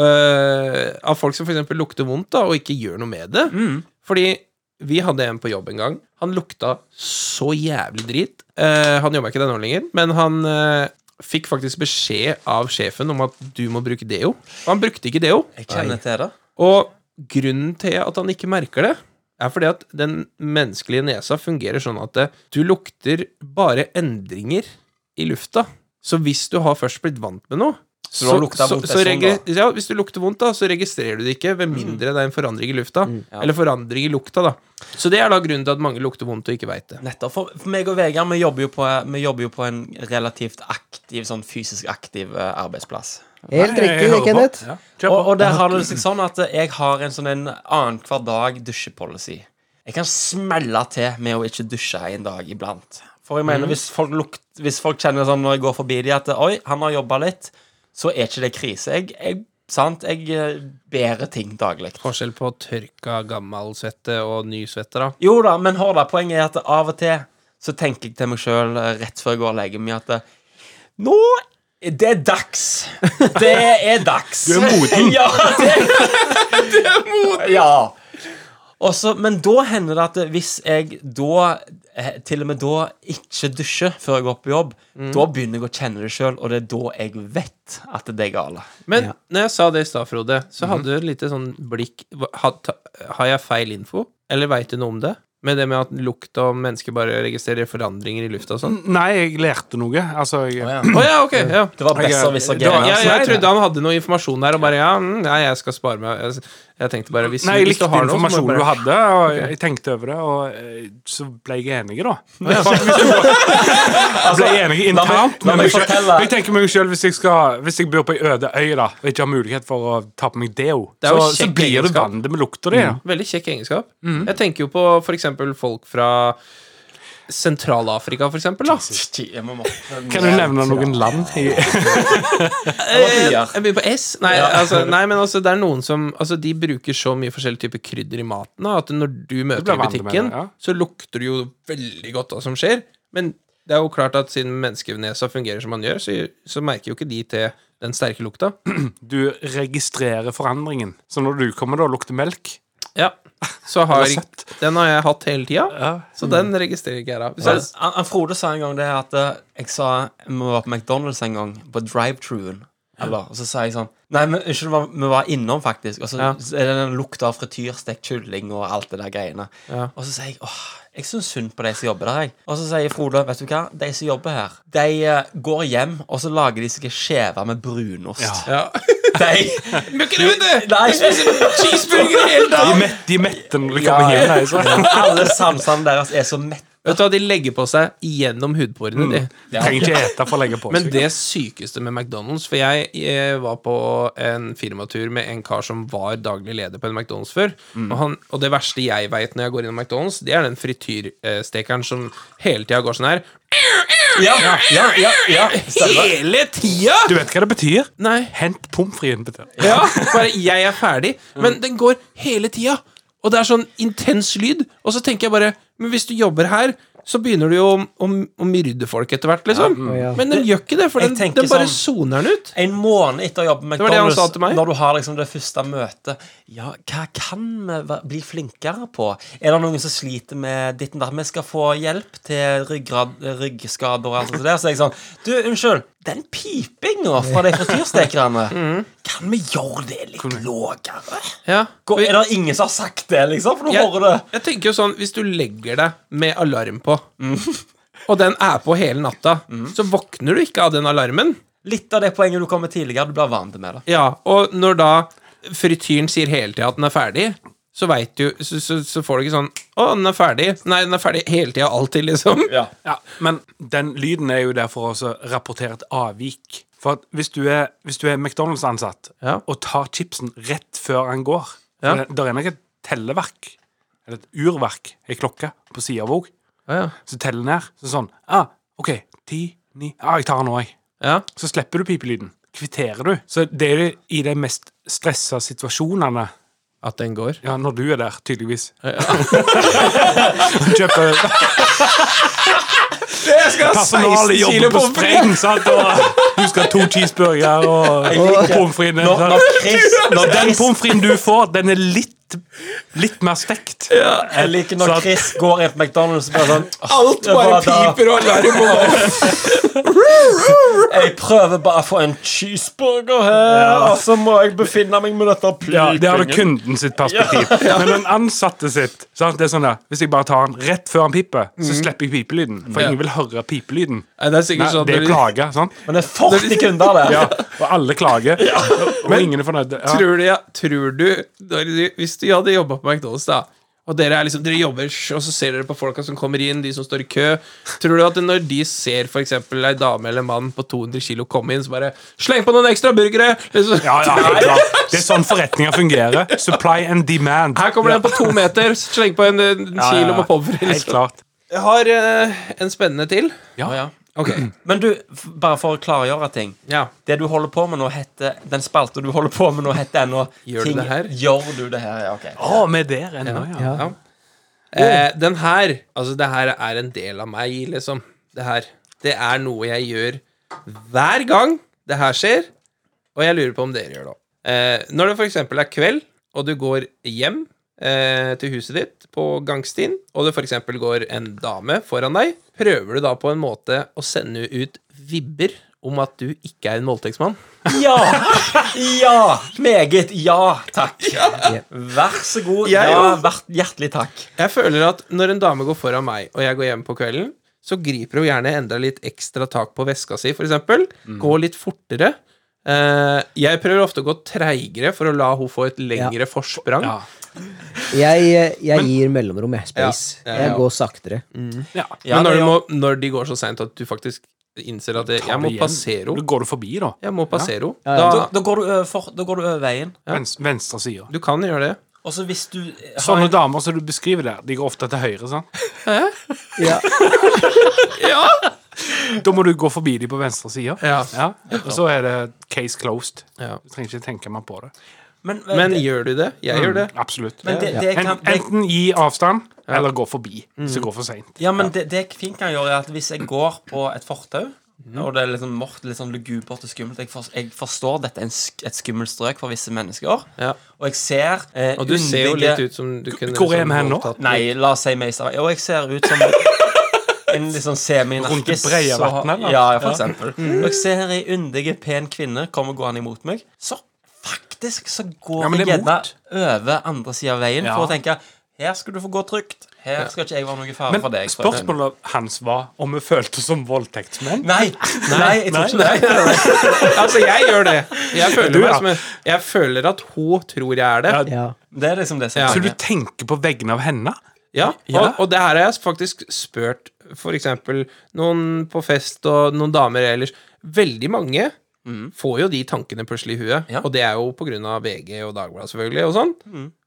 B: øh, av folk som f.eks. lukter vondt da, og ikke gjør noe med det. Fordi vi hadde en på jobb en gang. Han lukta så jævlig drit. Eh, han jobba ikke der nå lenger, men han eh, fikk faktisk beskjed av sjefen om at du må bruke deo. Og han brukte ikke deo.
D: Jeg kjenner til det.
B: Og grunnen til at han ikke merker det, er fordi at den menneskelige nesa fungerer sånn at eh, du lukter bare endringer i lufta. Så hvis du har først blitt vant med noe
D: du har lukta vondt, det er sånn,
B: regre- ja, Hvis du lukter vondt, da, så registrerer du det ikke,
D: Mm.
B: ved mindre det er en forandring i lufta. Eller forandring i lukta, da. Så det er da grunnen til at mange lukter vondt og ikke veit det.
D: Nettopp. For, for meg og Vegard vi jobber, jo på, vi jobber jo på en relativt aktiv, sånn fysisk aktiv eh, arbeidsplass.
C: Helt
E: Jeg- jeg
C: riktig, det,
E: hører på.
C: Kenneth.
E: Ja.
D: Og, og der har det seg sånn at eh, jeg har en sånn en annenhver dag dusjepolicy. Jeg kan smelle til med å ikke dusje en dag iblant. For jeg mener, hvis, folk lukt, hvis folk kjenner sånn når jeg går forbi de at eh, Oi, han har jobba litt, så er ikke det krise. Jeg, jeg, sant? jeg eh, bærer ting daglig.
B: Forskjell på tørka gammel svette og ny svette, da.
D: Jo da, men hør da, poenget er at av og til så tenker jeg til meg sjøl rett før jeg går og legger meg at eh, Nå Det er dags! (laughs) Det er dags! Du er moden. (laughs) ja, det, (laughs) er moden. Ja. Og så- men da hender det at hvis jeg da eh, til og med da ikke dusjer før jeg går på jobb, da begynner jeg å kjenne det sjøl, og det er da jeg vet at det er gale.
B: Men når jeg sa det i stad, Frode, så hadde du et lite sånn blikk hva- ha- ta- Har jeg feil info, eller veit du noe om det? Med det med at lukt og mennesker bare registrerer forandringer i lufta og sånn?
E: Nei, jeg lærte noe. Altså, jeg,
B: Å Mhm. ja, ok. Ja.
D: Det var
E: Jeg- det var-
D: besserwisser-greier.
B: Jeg, jeg
E: Nei,
B: trodde han hadde noe informasjon der, og bare ja, mm, ja jeg skal spare meg Jeg, jeg tenkte bare hvis,
E: (clears throat) Nei, jeg
B: hvis du
E: likte
B: har noe, så må
E: informasjonen
B: du
E: du
B: bare
E: hadde, og jeg tenkte over det, og eh, så ble jeg enig,
B: (laughs)
E: da.
B: Altså,
E: Jeg ble enig internt
D: la
E: med
D: meg
E: meg selv.
D: fortelle-
E: Jeg tenker meg selv, hvis jeg, skal, hvis jeg bor på ei øde øy da, og ikke har mulighet for å ta på meg deo,
B: Det er jo
E: så, så
B: kjekk
E: blir du
B: egenskap. Mm.
E: vant med lukta di. da.
B: Veldig kjekk egenskap. Jeg tenker jo på for eksempel folk fra Sentral-Afrika, for eksempel. Da.
D: Jeg må måtte-
E: Kan du nevne noen land? i- (laughs)
B: Eh,
D: Ja.
B: Jeg begynner på S. Nei, altså, nei men altså, det er noen som altså, De bruker så mye forskjellige typer krydder i maten da, at når du møter
E: blir
B: i
E: vant med
B: butikken,
E: det, ja.
B: så lukter det jo veldig godt hva som skjer. Men det er jo klart at siden menneskenesa fungerer som man gjør, så, så merker jo ikke de til den sterke lukta.
E: Du registrerer forandringen. Så når du kommer da og lukter melk
B: Ja. Så har,
E: Eller søtt.
B: den har jeg hatt hele tida, så den registrerer ikke jeg da. Så,
D: Men, han, han Frode sa en gang det at eh, jeg sa vi var på McDonald's en gang, på drive-truen. Eller, og så sa jeg sånn Nei, men unnskyld, vi var- vi var innom, faktisk. Og så
B: Ja.
D: så er det den lukta av frityrstekt kylling og alt det der greiene.
B: Ja.
D: Og så sier jeg åh, jeg syns synd på de som jobber der, jeg. Og så sier Frode, vet du hva, de som jobber her, de eh, går hjem, og så lager de seg en skjeve med brunost.
B: (laughs) ja.
D: (laughs) De
B: Men ikke det, vet du!
D: Nei, cheeseburger hele
E: De er mett- de er mette når de
D: Ja,
E: kommer
D: ja.
E: hjem. altså.
D: (laughs) Alle sansene deres er så mette.
B: Vet du hva, de legger på seg gjennom hudporene, de.
E: Trenger ikke ete for å legge på
B: Men
E: seg.
B: det sykeste med McDonald's For jeg, eh, var på en firmatur med en kar som var daglig leder på en McDonald's før.
D: Mm.
B: Og, han, og det verste jeg veit når jeg går innom McDonald's, det er den frityrstekeren som hele tida går sånn her.
D: Ja, ja, ja, ja. Stemmer.
B: Hele tida?!
E: Du vet hva det betyr?
B: Nei.
E: Hent pommes fritesen.
B: Ja, bare jeg er ferdig. Men den går hele tida. Og det er sånn intens lyd. Og så tenker jeg bare Men hvis du jobber her, så begynner du jo å, å, å myrde folk etter hvert, liksom.
C: Ja.
B: Men den gjør ikke det,
D: mm.
B: for
D: Jeg
B: den,
D: tenker
B: den bare
D: sånn-
B: soner den ut.
D: En måned etter å jobbe med
B: Det var det han
D: McDonald's,
B: sa til meg.
D: når du har liksom det første møtet Ja, hva kan vi va- bli flinkere på? Er det noen som sliter med ditten der? Vi skal få hjelp til ryggrad, ryggskader og alt sånt der. Så jeg sånn Du, unnskyld, den pipinga fra de
B: (laughs)
D: frityrstekerne, kan vi gjøre det litt lågere?
B: Mm. Ja.
D: Gå- Er det ingen som har sagt det, liksom? For nå
B: jeg,
D: hører det.
B: jeg tenker jo sånn, hvis du legger deg med alarm på,
D: Mm.
B: og den er på hele natta, så våkner du ikke av den alarmen.
D: Litt av det poenget du kom med tidligere, du blir vant med det.
B: Ja, og når da frityren sier hele tida at den er ferdig, så veit du så, så, så får du ikke sånn 'Å, den er ferdig.' Nei, den er ferdig hele tida, alltid, liksom.
E: Ja, men den lyden er jo der for å også rapportere et avvik. For at hvis du er, hvis du er McDonald's-ansatt
F: Ja.
E: og tar chipsen rett før han går for
F: Ja.
E: det, der er nok et telleverk, eller et urverk, ei klokke på sida av òg,
F: Ja, ja.
E: som teller ned. Så sånn ah, OK, ti, ni ah, Jeg tar den nå, jeg.
F: Ja.
E: Så slipper du pipelyden. Kvitterer du. Så det er jo i de mest stressa situasjonene
B: At den går.
E: ja, når du er der, tydeligvis. (laughs) Kjøper Personalet jobber på spreng, sant? Og du skal ha to cheeseburger og, og pommes frites.
D: Når,
E: sant?
D: når Chris, når
E: Den
D: Chris,
E: pommes fritesen du får, den er litt Litt mer stekt.
D: jeg liker når
E: Så at-
D: Chris går inn på McDonald's og bare sånn «Åh,
B: Alt
D: det
B: bare
D: var da-
B: piper og alarm og
D: Jeg prøver bare å få en cheeseburger her, og så må jeg befinne meg med dette
E: Ja, det hadde
D: pipingen.
E: kunden sitt perspektiv.
B: (laughs)
E: Men den ansatte sitt sant? det er sånn der, Hvis jeg bare tar den rett før han piper, så slipper jeg pipelyden. For ingen vil høre pipelyden.
B: Mm. Nei, det er
E: Nei,
B: sikkert sånn
E: det
B: når
E: er
B: du-
E: klage. sant?
D: Men det er 40 kunder der.
E: Ja, og alle
B: (laughs)
E: klager. Og ingen er fornøyd.
B: (laughs)
E: Ja.
B: Tror du, ja, tror du når du- Hvis du hadde jobba på McDonald's, da og dere, er liksom, dere jobber, og så ser dere på folka som kommer inn, de som står i kø. Tror du at når de ser for eksempel ei dame eller en mann på 200 kilo komme inn, så bare 'Sleng på noen ekstra burgere!' Liksom.
E: Ja, ja, helt klart. Det er sånn forretninger fungerer. Supply and demand.
B: Her kommer den på to meter, sleng på en, en kilo
E: ja,
B: med
E: ja.
B: liksom. pommes frites.
E: Helt klart.
B: Jeg har eh, en spennende til.
E: Ja.
B: Ok,
D: Men du, f- bare for å klargjøre ting.
B: ja.
D: Det du holder på med nå heter, Den spalta du holder på med nå, heter ennå
B: Gjør du
D: ting-
B: det her?
D: Gjør du det her? Ja, ok.
E: Å, vi er der ennå, ja.
C: Ja.
E: Oh.
B: Eh, den her Altså, det her er en del av meg, liksom. Det her. Det er noe jeg gjør hver gang det her skjer, og jeg lurer på om dere gjør det òg. Eh, når det f.eks. er kveld, og du går hjem eh, til huset ditt på gangstien, og det f.eks. går en dame foran deg, prøver du da på en måte å sende ut vibber om at du ikke er en voldtektsmann?
D: Ja! Ja! Meget ja, takk. Vær så god.
B: Jeg
D: Ja,
B: òg.
D: vært hjertelig takk.
B: Jeg føler at når en dame går foran meg, og jeg går hjem på kvelden, så griper hun gjerne enda litt ekstra tak på veska si, for eksempel.
E: Mm.
B: Går litt fortere. Eh, jeg prøver ofte å gå treigere for å la hun få et lengre forsprang.
E: Ja.
C: Jeg, eh, jeg gir mellomrom, jeg. Space.
B: Ja, ja, ja.
C: Jeg går saktere.
D: Ja,
B: Men når,
D: det
B: du
D: gjør-
B: må, når de går så seint at du faktisk innser at det, jeg må
E: det igjen.
B: passere
E: Da
B: henne
E: går du forbi, da.
B: Jeg må passere henne.
C: Ja, ja.
D: da,
B: Da
D: da, går du over, for, da går du over veien.
E: Vens, venstre side.
B: Du kan gjøre det.
D: Og så hvis du har
E: Sånne damer som du beskriver der, de går ofte til høyre. sant?
B: (laughs)
C: Ja.
E: Da må du gå forbi dem på venstre side.
B: Ja.
E: Og så er det case closed.
B: Ja.
E: Du trenger ikke tenke mer på det.
D: Men, eh,
B: Men
D: det,
B: gjør du det? Jeg
E: Mm.
B: gjør det.
E: Absolutt.
D: men det, det,
E: En,
D: kan, det,
E: enten gi avstand, eller gå forbi hvis det
B: Mm.
E: går for seint.
D: Ja, men det, det jeg fint kan gjøre, er at hvis jeg går på et fortau
E: Mhm.
D: Og det er litt sånn mørkt, litt sånn lugubert og skummelt. Jeg, for, jeg forstår dette er en, sk- et skummelt strøk for visse mennesker.
B: Ja.
D: Og jeg ser eh,
B: Og du ser jo litt ut som du kunne
E: Hvor er
B: liksom
E: vi hen nå?
B: voldtatt-
D: Nei, la oss si Meisar. Og jeg ser ut som en litt sånn
E: Rundt
D: semi-narkis.
E: Breiavatnet,
D: så-
E: eller? Mhm.
D: Ja, ja, for eksempel. Og jeg ser ei yndig, pen kvinne komme gående imot meg. Så faktisk så går
E: Ja, men
D: jeg
E: det er
D: gjerne
E: mot.
D: over andre sida av veien
E: Ja.
D: for å tenke her skal du få gå trygt. Her skal ikke jeg være noe fare
E: Men
D: for deg. tror jeg.
E: spørsmålet hans var om vi følte oss som voldtektsmenn.
D: Nei, nei, jeg tror ikke det.
B: Altså, jeg gjør det. Jeg føler,
E: (laughs) Du,
B: meg
E: ja.
B: som en, jeg føler at hun tror jeg er det.
E: Ja.
C: Ja.
D: Det er liksom det som
B: Ja.
E: Så
D: er
E: du
D: poenget.
E: tenker på vegne av henne?
B: Ja, Og, og det her har jeg faktisk spurt for eksempel noen på fest og noen damer ellers. Veldig mange får jo de tankene plutselig i huet,
D: Mm. Ja. Mm.
B: og det er jo på grunn av VG og Dagbladet selvfølgelig og sånn.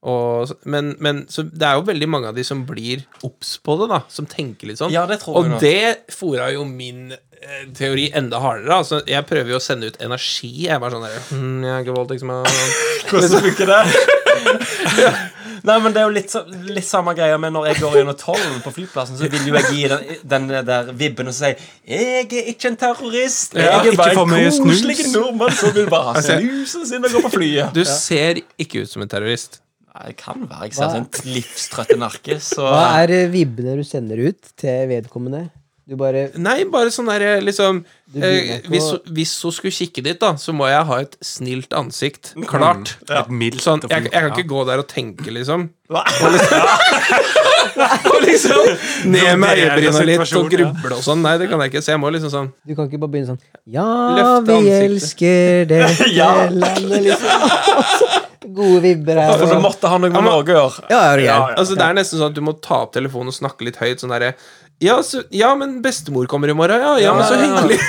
B: Og, så- men, men så det er jo veldig mange av de som blir obs på det, da, som tenker litt sånn.
D: Ja, det tror
B: og
D: jeg nok.
B: det fora jo min eh, teori enda hardere. Altså, jeg prøver jo å sende ut energi. Jeg er bare sånn der hm, Jeg er ikke voldtektsmann.
D: (laughs) Hvordan funker det? Nei, men Det er jo litt, så- litt samme greia med når jeg går gjennom tollen på flyplassen, så vil jo jeg gi den, den der vibben og si 'Jeg er ikke en terrorist. Jeg
E: Ja,
D: er
E: ikke
D: bare
E: for mye
D: en koselig
E: snus.»
D: nordmann som vil bare ha snusen sin og gå på flyet.'
B: Du ser ikke ut som en terrorist.
D: Nei, det kan være. Jeg ser ut som en livstrøtt narkis. Så
C: Hva er eh, vibbene du sender ut til vedkommende? Du bare
B: Nei, bare sånn derre liksom
C: Du
B: eh,
C: begynner på-
B: hvis, hvis hun skulle kikke dit, da, så må jeg ha et snilt ansikt. Klart.
E: Et mildt
B: Sånn,
E: og
B: jeg, jeg kan
E: fint,
B: ikke gå der og tenke, liksom.
D: Hva?
B: Og liksom, og liksom ned med
E: Vurdere
B: øyebryna litt og
E: situasjonen, ja.
B: gruble og sånn. Nei, det kan jeg ikke. Så jeg må liksom sånn
C: Du kan ikke bare begynne sånn Ja,
B: Løfte
C: vi
B: ansiktet.
C: elsker dette
D: Ja.
C: landet, liksom. (laughs) Gode vibber her.
D: For det
C: Og...
D: måtte ha noe med
B: men-
D: Norge å gjøre.
C: Ja, er du gæren?
B: Altså, det er nesten sånn at du må ta opp telefonen og snakke litt høyt. Sånn derre ja, så, ja, men bestemor kommer i morgen. Ja, ja, men så hyggelig.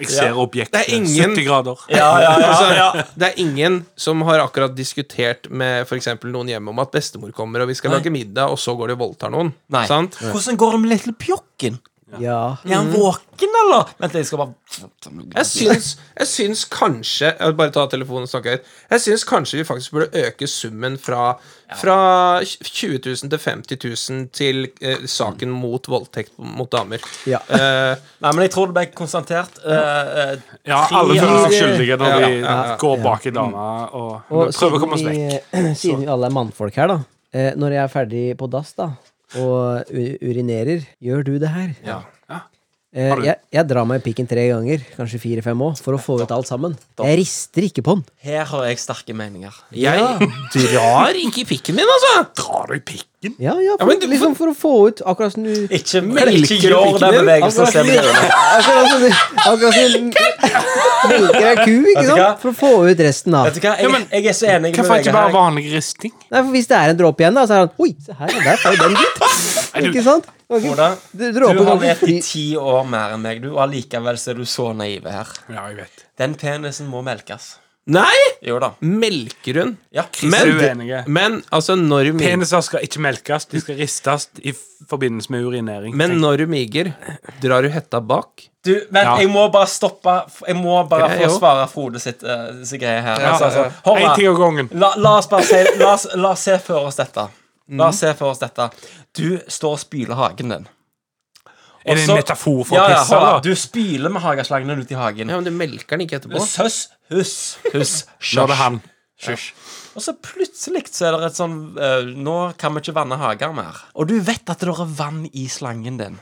E: Jeg ser
B: Det
E: objektet.
B: er ingen-
E: 70 grader.
D: Ja, ja, ja, ja.
B: Altså, det er ingen som har akkurat diskutert med for eksempel noen hjemme om at bestemor kommer, og vi skal lage middag, og så går de og voldtar noen.
D: Nei.
B: Sant?
D: Hvordan går det med Little Pjokken?
C: Ja.
D: Er han
E: Mm.
D: våken, eller? Vent, jeg skal bare
B: Jeg syns, jeg syns kanskje jeg vil Bare ta telefonen og snakke høyt. Jeg syns kanskje vi faktisk burde øke summen fra, fra 20 000 til 50 000 til eh, saken mot voldtekt mot damer.
C: Ja.
B: Eh,
D: Nei, men jeg tror det ble konstatert. eh, eh,
E: Ja, alle føler seg skyldige når
B: Ja,
E: de
B: ja, ja.
E: går bak i dama og,
C: Og
E: prøver å komme oss vekk.
C: vi, (clears throat) siden vi alle er mannfolk her, da. Eh, når jeg er ferdig på dass da og u- urinerer, gjør du det her?
B: Ja.
C: Eh, jeg, jeg drar meg i pikken tre ganger, kanskje fire-fem òg, for å få ut alt sammen. Jeg rister ikke på den.
D: her har jeg sterke meninger.
B: jeg drar ikke i pikken min, altså!
E: Drar du i pikken?
C: Ja, ja, for,
B: men du-
C: liksom for å få ut akkurat som du
D: Ikke,
B: Melker
D: ikke
B: du
D: gjør
B: pikken
D: den
B: din?
E: altså
D: bevegelsen
C: Akkurat som
D: selv.
C: du (laughs) akkurat som du- akkurat som du melker ei ku, ikke
D: du hva?
C: sant? For å få ut resten, da.
D: Vet du hva,
E: Ja,
D: jeg,
E: men-
D: jeg er så enig med
E: Hvorfor
D: Vegard
E: ikke bare
D: her.
E: vanlig risting?
C: Nei, for Hvis det er en dråpe igjen, da, så er han Oi, se her, ja, der får jo den gitt. Ikke sant? Det var ikke-
D: Oda,
C: det-
D: Du
C: dråpen
D: har
C: kan ikke
D: levd i
C: fly-
D: ti år mer enn meg, du, og allikevel så er du så naiv her.
E: Ja, jeg vet.
D: Den penisen må melkes.
B: Nei!
D: Jo da.
B: Melker hun.
D: Ja.
E: Men,
B: Men,
E: uenige.
B: men altså, når hun miger,
E: Peniser skal ikke melkes, de skal ristes i f- forbindelse med urinering.
B: men når hun miger, drar hun hetta bak?
D: Du, vent,
E: Ja.
D: jeg må bare stoppe Jeg må bare
B: Grei, jo.
D: forsvare Frode sitt, eh, sin greie her.
E: Ja,
D: Altså,
E: ja, ja.
D: altså, hold
E: En
D: da.
E: ting av gangen.
D: La, la oss bare si La oss, la oss se for oss dette. La oss se for oss dette. Du står og spyler hagen din.
E: Er det
D: Også-
E: en metafor for
D: Ja,
E: å
D: ja,
E: pisse?
D: hold da.
E: eller?
D: Du spyler med hageslagene ut i hagen.
B: Ja, men du melker den ikke etterpå.
D: Søss, huss, huss,
E: Nå er
D: sjøsj.
E: det han.
D: Og så plutselig så er det et sånn eh, Nå kan vi ikke vanne hager mer. Og du vet at det er vann i slangen din.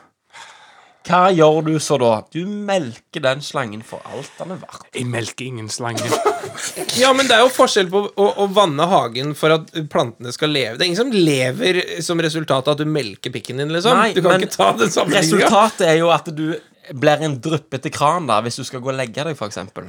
D: Hva gjør du så da? Du melker den slangen for alt den er verdt.
E: Jeg melker ingen slange.
B: Ja, men det er jo forskjell på å, å vanne hagen for at plantene skal leve. Det er ingen som lever som resultat av at du melker pikken din, liksom.
D: Nei,
B: du kan
D: men
B: ikke ta den sammenligninga.
D: Resultatet er jo at du blir en dryppete kran da hvis du skal gå og legge deg, for eksempel.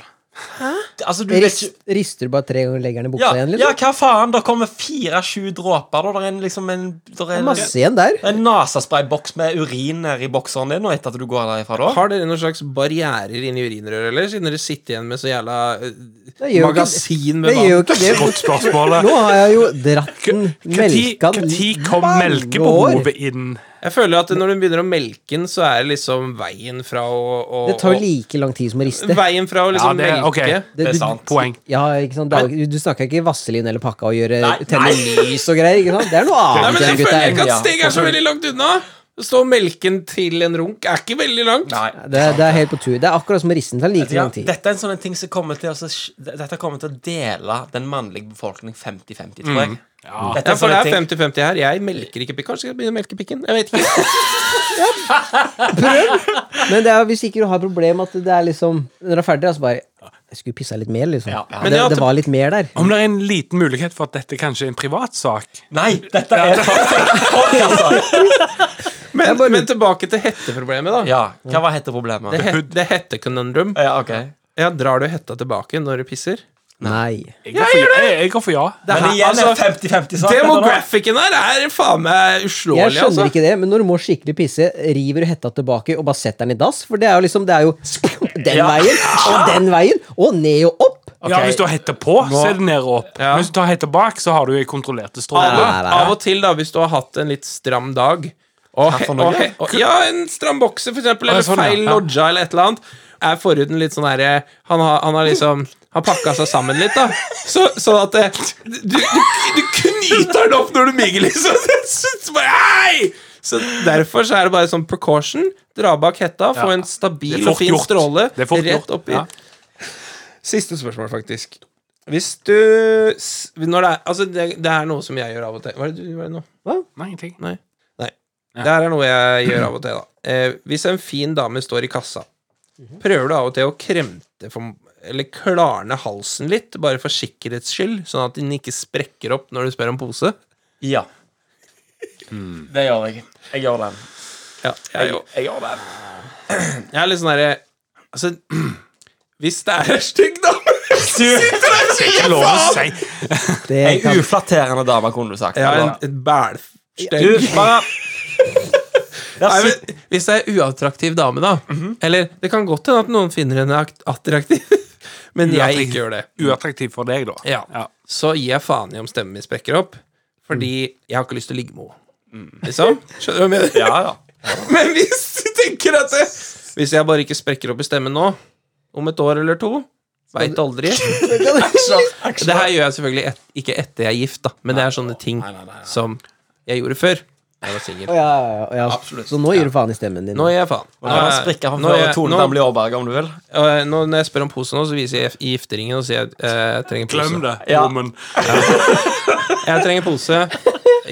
D: Altså, du vet
C: Rist,
D: ikke
C: rister du bare tre ganger og legger den i
D: ja,
C: buksa igjen,
D: ja,
C: liksom?
D: hva faen? Det kommer fire-sju dråper. Da. Det er en, liksom en, det er
C: Det er
D: en,
C: Masse igjen der.
D: en nasaspray-boks med urin nedi bokseren din, og etter at du går derifra da.
B: Har dere noen slags barrierer inni urinrøret, eller? Siden dere sitter igjen med så jævla eh,
C: Det gjør jo ikke-
B: magasin
C: Det
B: med
C: gjør jo
B: vann.
C: ikke det.
E: Godt spørsmål.
C: Nå har jeg jo dratt den, melka den
E: Når kom
C: mange år.
E: melkebehovet inn?
B: Jeg føler at når du begynner å melke den, så er det liksom veien fra å, å
C: Det tar jo like lang tid som å
B: å-
C: riste.
B: Veien fra å
E: Ja,
B: liksom
E: det, ok,
B: melke
D: Det er
C: du-
D: sant.
E: Poeng.
C: Ja, ikke sant? Det er, jo- du snakker ikke vaselin eller pakka og gjøre
D: Nei,
C: tenne lys og greier. ikke sant? Det er noe
B: Nei,
C: annet
B: men
C: enn
B: jeg føler ikke
C: gutta.
B: at
D: Ja,
B: steg er så veldig langt unna. Å stå og melke den til en runk er ikke veldig langt.
D: Nei.
C: Det, det er helt på tur. Det er akkurat som å riste den. Det tar like
D: Ja,
C: lang tid.
D: dette er en sånn en ting som kommer til å, s- Dette kommer til å dele den mannlige befolkningen 50-50, tror jeg. Dette
B: Mm. Ja,
D: er en
B: for
D: sånn
B: det
D: en
B: er
D: ting
B: 50-50 her. Jeg melker ikke pikken. Kanskje jeg skal begynne å melke pikken? Jeg
D: (laughs)
B: vet ikke.
C: Men det er, hvis ikke du har problem at det er liksom Når du er ferdig, altså bare Jeg skulle pissa litt mer, liksom.
D: Ja, ja.
C: Det,
B: Men jeg har
C: det
B: til-
C: var litt mer der.
E: Om det er en liten mulighet for at dette kanskje er en privatsak
D: Nei, dette
B: (laughs)
D: er altså. podcast.
B: Men, men tilbake til hetteproblemet, da.
D: Ja, hva var hette
B: Det,
D: problemet?
B: het, det er hetteconundrum.
D: Ja, ok
B: Ja, drar du hetta tilbake når du pisser?
C: Nei.
E: Jeg går for, jeg, jeg går for ja.
D: Men
B: her-
D: igjen
B: altså,
D: er 50-50 sak
B: Demographicen her er faen meg uslåelig,
C: Jeg skjønner
B: altså.
C: ikke det, men når du må skikkelig pisse, river du hetta tilbake og bare setter den i dass. For det er jo liksom Det er jo den
D: Ja.
C: veien, og den veien, og ned og opp.
E: ja. Hvis du har hette på, så er det ned og opp. Men hvis du tar hette bak, så har du
B: Av
E: kontrollerte
B: og,
E: stråler.
C: nei, nei.
B: av og til, da, hvis du har hatt en litt stram dag og, he-
D: for noe?
B: og, he- og, Ja, en stram bokser, for eksempel, eller
E: sånn, ja.
B: feil
E: Ja.
B: lodja eller et eller annet, er forhuden litt sånn herre han, har- han har liksom Han pakka seg sammen litt, da. Så, sånn at det, du, du, du knyter den opp når du mygger, liksom. (laughs) Så, så bare, hei! Så derfor så er det bare sånn precaution. Dra bak hetta, få
E: Ja.
B: en
E: Det
B: stabil
E: er
B: og
E: fort
B: fin
E: gjort.
B: stråle
E: Det er fort
B: rett
E: gjort,
B: oppi.
E: ja.
B: Siste spørsmål, faktisk. Hvis du s- Når det er Altså, det, det er noe som jeg gjør av og til. Hva er det du gjør nå?
E: Nei, ingenting.
B: Nei. Nei. Det her er noe jeg gjør av og til, da. Eh, hvis en fin dame står i kassa, prøver du av og til å kremte for, eller klarne halsen litt, bare for sikkerhets skyld, sånn at den ikke sprekker opp når du spør om pose?
D: Ja. Hmm. Det gjør jeg. Jeg gjør den.
B: Ja, jeg,
D: Jeg,
B: jo.
D: jeg gjør den.
B: (clears throat) jeg er litt sånn herre Altså, hvis det er ei stygg dame
D: Du,
E: Det er ikke lov å si.
C: Det
D: Ei
C: (laughs) kan,
D: uflatterende dame, kunne du sagt.
B: (laughs) Ja,
D: eller?
B: en, et bælstøgg.
D: Du, bare
B: Nei, men Hvis det er uattraktiv dame, da Eller det kan godt hende at noen finner henne akt- attraktiv, (laughs) men jeg
E: Uattraktiv.
B: ikke gjør det.
E: Uattraktiv for deg, da.
B: Ja.
E: Ja.
B: Så gir jeg faen i om stemmen min sprekker opp, fordi jeg har ikke lyst til å ligge med henne. Liksom? Skjønner du hva jeg mener?
D: Ja, ja.
B: (laughs) Men hvis du tenker at det, Hvis jeg bare ikke sprekker opp i stemmen nå, om et år eller to Veit aldri. Det her gjør jeg selvfølgelig et, ikke etter jeg er gift, da, men det er sånne ting som jeg gjorde før. Jeg var singel.
C: Å, ja, ja, ja, ja. Så nå gir du faen i stemmen din.
B: Nå gir jeg faen.
D: Du kan sprikke
B: Nå
D: for
B: er
D: før
B: jeg-
D: Tone
B: nå-
D: Damli Aaberge, om du vil.
B: Og eh, nå, når jeg spør om pose nå, så viser jeg i gifteringen og sier jeg, eh, jeg trenger pose.
E: Glem det,
D: Ja.
E: woman.
B: Jeg trenger pose.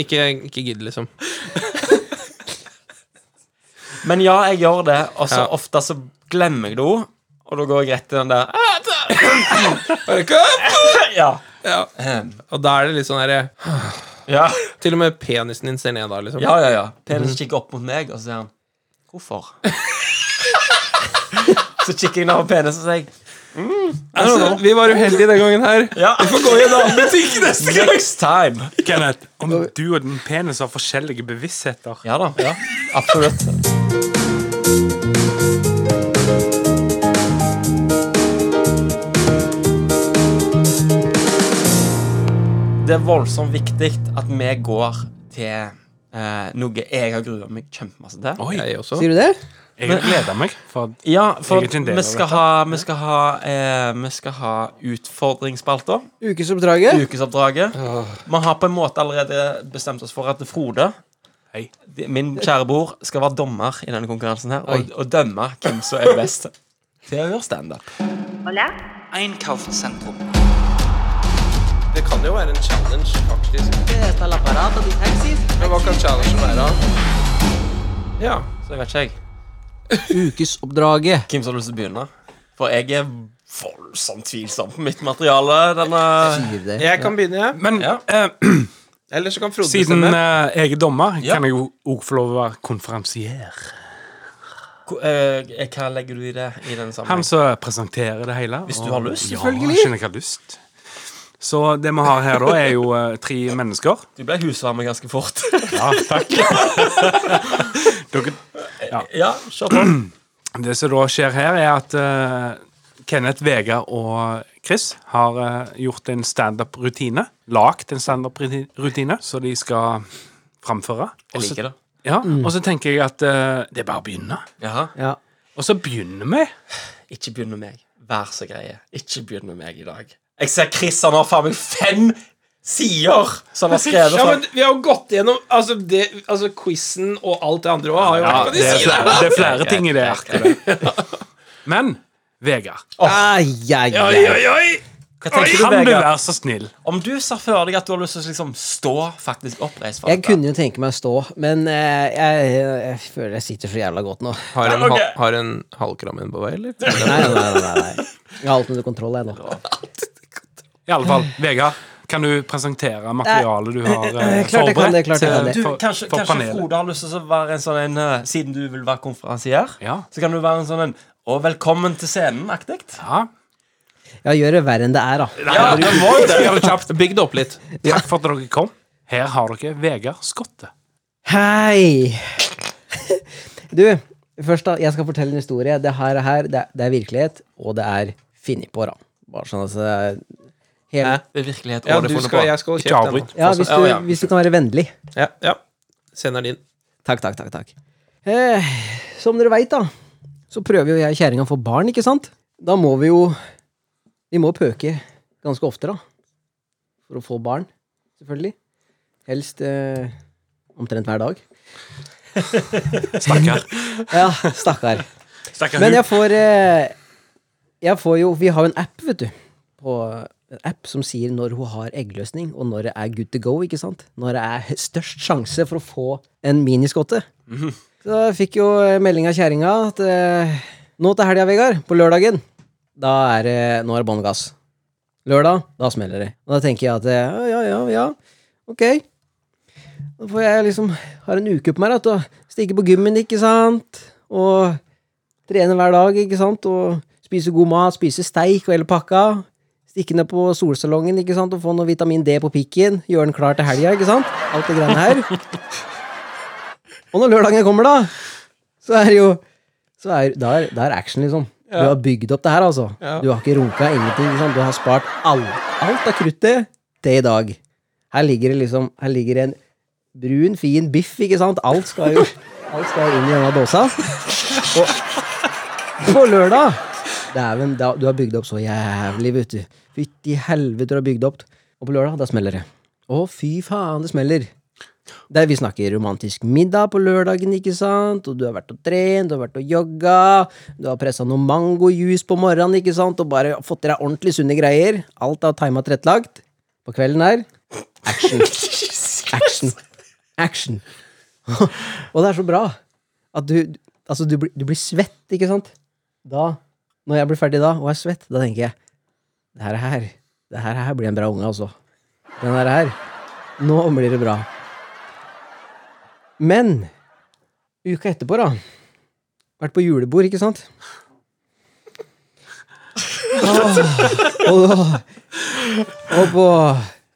B: Ikke, ikke gidd, liksom.
D: Men ja, jeg gjør det, og så
B: Ja.
D: ofte så glemmer jeg det òg. Og da går jeg rett til den der «Ah, (laughs) Ja.
B: Og da er det litt sånn herre
D: Ja,
B: Til og med penisen din ser ned da, liksom.
D: ja, ja. ja. Mhm. Penisen kikker opp mot meg, og så sier han Hvorfor? (laughs) så kikker jeg ned på penisen og sier jeg,
B: I don't
E: sånn.
B: know. Altså, Vi var uheldige den gangen her.
D: Ja, vi får gå i en annen butikk neste gang. Next time.
E: Kenneth, om du og din penis har forskjellige bevisstheter
D: Ja da. Ja, absolutt. Det er voldsomt viktig at vi går til eh, noe jeg har grua meg kjempemasse til.
E: Oi,
B: Jeg også.
C: Sier du det?
E: jeg gleder meg. For
D: Ja, for
E: Jeg er ikke en del
D: vi
E: av
D: skal ha, vi skal ha, eh, vi skal ha utfordringsspalter.
C: Ukesoppdraget?
D: Ukesoppdraget. Vi har på en måte allerede bestemt oss for at Frode,
E: Hei.
D: de- min kjære bror, skal være dommer i denne konkurransen her og, og dømme hvem som er best til å gjøre standup.
G: Hola.
H: Einkaufszentrum.
B: Det kan jo være en challenge, faktisk. Men hva kan challengen være? Ja.
D: Så jeg vet ikke jeg
C: Ukesoppdraget.
D: hvem som har lyst til å begynne. For jeg er voldsomt tvilsom på mitt materiale. Denne
C: Sier du det?
B: Jeg kan begynne, jeg.
E: Men
D: Ja.
E: eh,
B: Eller så kan Frode
E: siden
B: bestemme.
E: eh, jeg er dommer,
D: Ja.
E: kan jeg jo òg få lov å være konferansier.
D: Ko- eh, Hva legger du i det i denne
E: Han
D: sammenhengen?
E: som presenterer det hele. Hvis
D: du har lyst,
E: ja, selvfølgelig. Jeg har lyst. Så det vi har her, da, er jo eh, tre mennesker.
D: Du ble husvarme ganske fort.
E: Ja, takk. (laughs) Dere,
D: ja, kjør på.
E: det som da skjer her, er at eh, Kenneth, Vegard og Chris har eh, gjort en standup-rutine. Lagt en standup-rutine som de skal framføre.
D: Jeg
E: Og så-
D: liker det.
E: Ja, Og så tenker jeg at eh, det er bare å begynne.
D: Jaha.
C: Ja.
E: Og så begynner vi.
D: Ikke begynn med meg. Vær så greie. Ikke begynn med meg i dag. Jeg ser Chris, han har faen meg fem sider som han har skrevet.
B: Ja,
D: for-
B: men Vi har jo gått gjennom altså, det, altså quizen og alt det andre òg. har jo vært
E: det, er flere, det er flere ting i det (laughs) arket. Men Vegard,
C: Ai, ai, ai.
D: Hva tenker du,
E: kan du
D: Vegard?
E: være så snill?
D: Om du ser for deg at du har lyst til å liksom stå faktisk oppreist for
C: Jeg
D: dette.
C: kunne jo tenke meg å stå, men eh, jeg, jeg føler jeg sitter så jævla godt nå.
B: Har en,
D: Ja, ok.
B: ha- har en halvkrammen på vei, eller?
C: Nei, nei, nei. nei, nei. Jeg har alt under kontroll, jeg nå.
E: I alle fall, Vegard, kan du presentere materialet du har eh,
C: Eh, klart jeg kan det,
E: forberedt?
C: klart jeg kan det.
E: eh,
D: Du,
E: for-
D: kanskje
E: for
D: kanskje
E: panelet?
D: Frode har lyst til å være en sånn en eh, Siden du vil være konferansier,
E: Ja.
D: så kan du være en sånn en Og velkommen til scenen-aktig.
E: Ja.
C: Ja, gjør det verre enn det er, da.
E: Ja, det var jo det. Gjør det kjapt.
B: Bygg det opp litt.
E: Takk for at dere kom. Her har dere Vegard Skotte.
C: Hei! Du, først da, jeg skal fortelle en historie. Det her, er her det, er, det er virkelighet, og det er funnet på, da. Bare sånn at det er hele,
D: Det er virkelighet.
B: Ja,
D: og det
B: du
D: er funnet
B: skal,
D: på.
B: jeg skal holde
E: Ikke
B: kjeft.
E: avbryt.
B: ennå.
C: ja, hvis,
B: Ja, ja.
C: du, hvis du kan være vennlig.
B: Ja, ja. Send den inn.
C: Takk, takk, takk. takk. Eh, som dere veit, da, så prøver jo jeg og kjerringa å få barn, ikke sant? Da må vi jo Vi må pøke ganske ofte, da. For å få barn, selvfølgelig. Helst eh, omtrent hver dag.
E: (laughs) Stakkar.
C: Ja, stakkar.
E: Stakkar
C: Men
E: hun.
C: jeg får eh, Jeg får jo Vi har jo en app, vet du. På en app som sier når hun har eggløsning, og når det er good to go. ikke sant? Når det er størst sjanse for å få en miniskotte. Så jeg fikk jo eh, melding av kjerringa at eh, nå til helga, Vegard, på lørdagen, da er det Nå er det bånn gass. Lørdag, da smeller det. Og da tenker jeg at eh, ja, ja, ja, ok. Da får jeg liksom Har en uke på meg da, til å stikke på gymmen, ikke sant? Og trene hver dag, ikke sant? Og spise god mat, spise steik og hele pakka. Stikke ned på solsalongen ikke sant? og få noe vitamin D på pikken. Gjøre den klar til helga, ikke sant? Alt det greiene her. Og når lørdagen kommer, da, så er det jo så er, da, er, da er action, liksom. Du har bygd opp det her, altså. Du har ikke runka ingenting. Ikke sant? Du har spart alt, alt av kruttet til i dag. Her ligger det liksom Her ligger det en brun, fin biff, ikke sant? Alt skal jo Alt skal inn i denne dåsa. Og på lørdag Dæven, da- du har bygd opp så jævlig, vet du. Fytti helvete, du har bygd opp. Og på lørdag, da smeller det. Å, fy faen, det smeller. Der vi snakker romantisk middag på lørdagen, ikke sant? Og du har vært og trent, du har vært og jogga, du har pressa noe mangojuice på morgenen, ikke sant? Og bare fått i deg ordentlig sunne greier. Alt er tima tilrettelagt. På kvelden her action. Action. Action. og det er så bra at du Altså, du, blir- du blir svett, ikke sant? Da, når jeg blir ferdig da, og er svett, da tenker jeg Det her, her, det her, her blir en bra unge, altså. Den her, her. Nå blir det bra. Men uka etterpå, da Vært på julebord, ikke sant? Åh, og, og på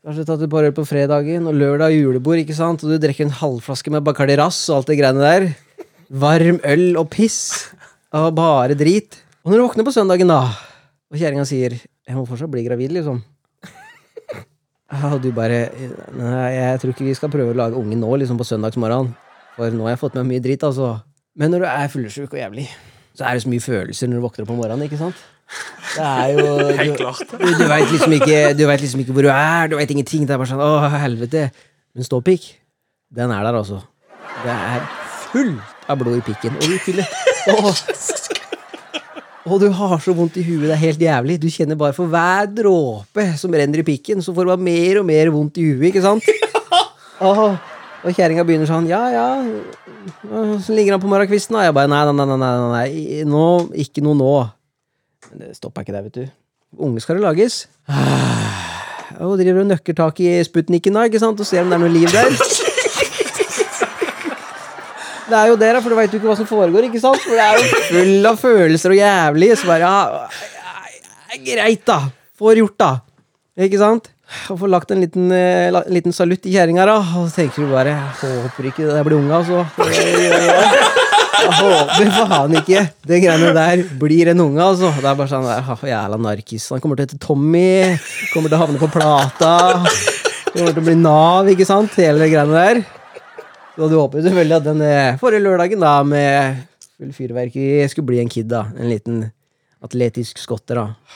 C: Kanskje tatt et par øl på fredagen, og lørdag julebord, ikke sant? Og du drikker en halvflaske med Bacardi Ras og alt det greiene der. Varm øl og piss. Og bare drit. Og når du våkner på søndagen, da, og kjerringa sier 'Jeg må fortsatt bli gravid', liksom. Ja, Og du bare Nei, jeg tror ikke vi skal prøve å lage ungen nå, liksom, på søndagsmorgenen. For nå har jeg fått med mye dritt, altså. Men når du er fyllesyk og jævlig, så er det så mye følelser når du våkner opp om morgenen, ikke sant? Det
F: (laughs)
C: er jo
F: Helt klart.
C: du, du veit liksom, ikke- du vet liksom ikke hvor du er, du veit ingenting. Det er bare sånn Å, helvete. Men ståpikk, den er der, altså. Det er fullt av blod i pikken. Og du kunne Åh. Og du har så vondt i huet, det er helt jævlig. Du kjenner bare for hver dråpe som renner i pikken, så får du bare mer og mer vondt i huet, ikke sant? Åh. Og kjerringa begynner sånn, ja ja, åssen ligger han på morgenkvisten? Og jeg bare nei, nei, nei, nei, nei, nei. Nå, ikke noe nå. Men det stopper ikke der, vet du. Unge skal det lages. (sighs) Ah, Og driver og nøkker tak i Sputniken da, ikke sant? og ser om det er noe liv der. Det er jo det, da, for du veit jo ikke hva som foregår. ikke sant? For Det er jo full av følelser og jævlig. Så bare, ja, ja, ja, Greit, da. Får gjort, da. Ikke sant? Og får lagt en liten, eh, la- en liten salutt i kjerringa, da. Og så tenker du bare jeg Håper ikke det der blir unge, altså. Jeg håper faen ikke det greiene der blir en unge, altså. Det er bare sånn der, «Ha, jævla narkis. Han kommer til å hete Tommy. Kommer til å havne på plata. Kommer til å bli Nav, ikke sant? Hele det greiene der. Så du håper selvfølgelig at den eh, forrige lørdagen da med full fyrverkeri skulle bli en kid, da. En liten atletisk skotter, da.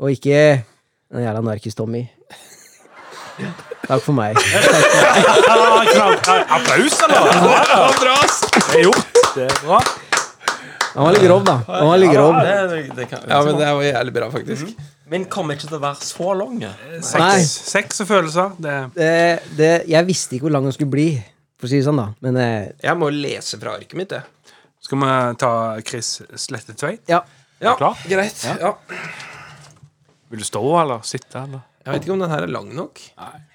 C: Og ikke den jævla narkis-Tommy. Takk for meg.
E: Ah, knapp- eh, Applaus, eller? Det er gjort. Det er bra.
C: Han var litt grov, da. Han var litt grov.
D: Det, det, det kan,
B: Ja, men det var jævlig bra, faktisk.
D: Min kommer ikke til å være så lang.
C: Nei.
E: Sex, sex og følelser. Det er
C: det, det, jeg visste ikke hvor lang den skulle bli, for å si det sånn, da. Men eh,
B: Jeg må lese fra arket mitt, jeg.
E: Skal vi ta Chris Slettetveit?
C: ja.
B: Ja,
E: Klar?
B: greit. Ja.
E: Vil du stå eller sitte? eller?
B: Jeg vet ikke om den her er lang nok.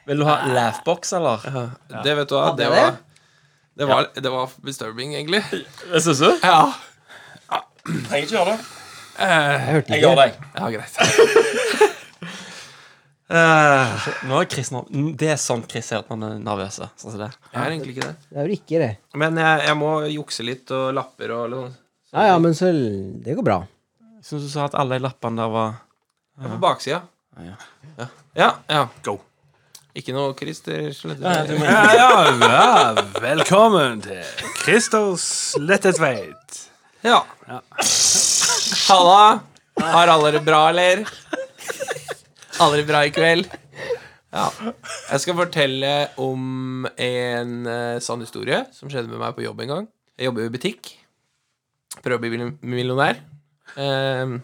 D: Vil du ha laughbox, eller?
B: Det vet du hva, det
C: jeg
B: var det var, det var disturbing, egentlig.
D: Det syns du?
B: Ja,
D: Trenger ikke gjøre det.
C: Jeg hørte
D: Jeg gjør
C: ikke.
D: det.
B: ja greit.
D: Eh, nå er Chris nerv- Det er sånn Chris er at man er nervøs. Sånn som det.
B: Jeg er egentlig ikke det.
C: Det er jo ikke det.
B: Men jeg, jeg må jukse litt og lapper og litt sånn.
C: Ja, ja, men så Det går bra.
D: Syns du sa at alle lappene der var
B: Jeg er på baksida.
D: Ja.
B: Ja. ja, ja.
E: Go.
B: Ikke noe Christer Sledde.
E: Ja, ja, ja, velkommen til Christer Slettetveit.
B: Ja. Halla. Har alle det bra, eller? Alle det bra i kveld? Ja. Jeg skal fortelle om en eh, sann historie som skjedde med meg på jobb en gang. Jeg jobber jo i butikk. Prøver å bli mil- millionær. Ehm.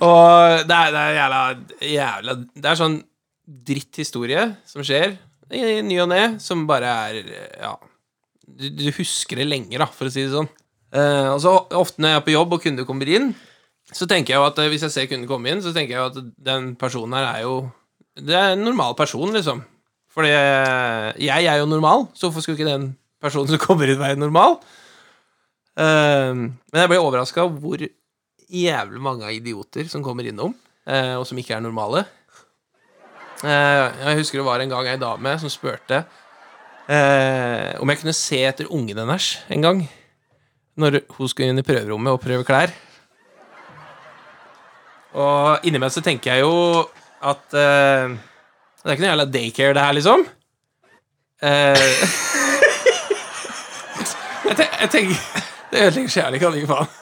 B: og det er, det er jævla, jævla Det er sånn dritthistorie som skjer i, i ny og ne, som bare er eh, Ja du, du husker det lenge, da, for å si det sånn. Eh, og så Ofte når jeg er på jobb og kunder kommer inn, så tenker jeg jo at eh, hvis jeg ser kunden komme inn, så tenker jeg jo at den personen her er jo Det er en normal person, liksom. Fordi eh, jeg er jo normal, så hvorfor skulle ikke den personen som kommer inn, være normal? Eh, men jeg ble overraska hvor jævlig mange idioter som kommer innom, eh, og som ikke er normale. Eh, jeg husker det var en gang ei dame som spurte eh, om jeg kunne se etter ungen hennes en gang. Når hun skulle inn i prøverommet og prøve klær. Og innimellom så tenker jeg jo at eh, Det er ikke noe jævla daycare, det her, liksom. Eh, (laughs) jeg, ten jeg tenker Det ødelegger sjela ikke, gi faen.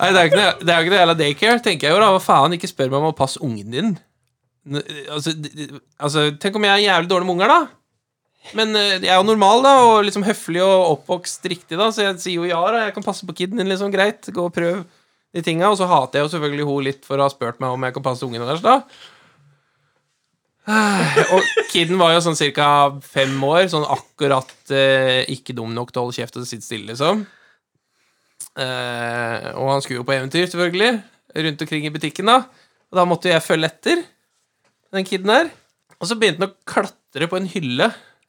B: Nei, det er jo ikke noe- det er jo ikke noe jævla daycare, tenker jeg jo da. Hva faen, ikke spør meg om å passe ungen din. N altså, d- d- altså, tenk om jeg er jævlig dårlig med unger, da. Men eh, jeg er jo normal, da, og liksom høflig og oppvokst riktig, da, så jeg sier jo ja, da. Jeg kan passe på kiden din, liksom. Greit, gå og prøv de tinga. Og så hater jeg jo selvfølgelig hun litt for å ha spurt meg om jeg kan passe ungen hennes, da. (sighs) Og kiden var jo sånn cirka fem år, sånn akkurat eh, ikke dum nok til å holde kjeft og sitte stille, liksom. Eh, og han skulle jo på eventyr, selvfølgelig, rundt omkring i butikken, da. Og da måtte jo jeg følge etter den kiden der. Og så begynte han å klatre på en hylle,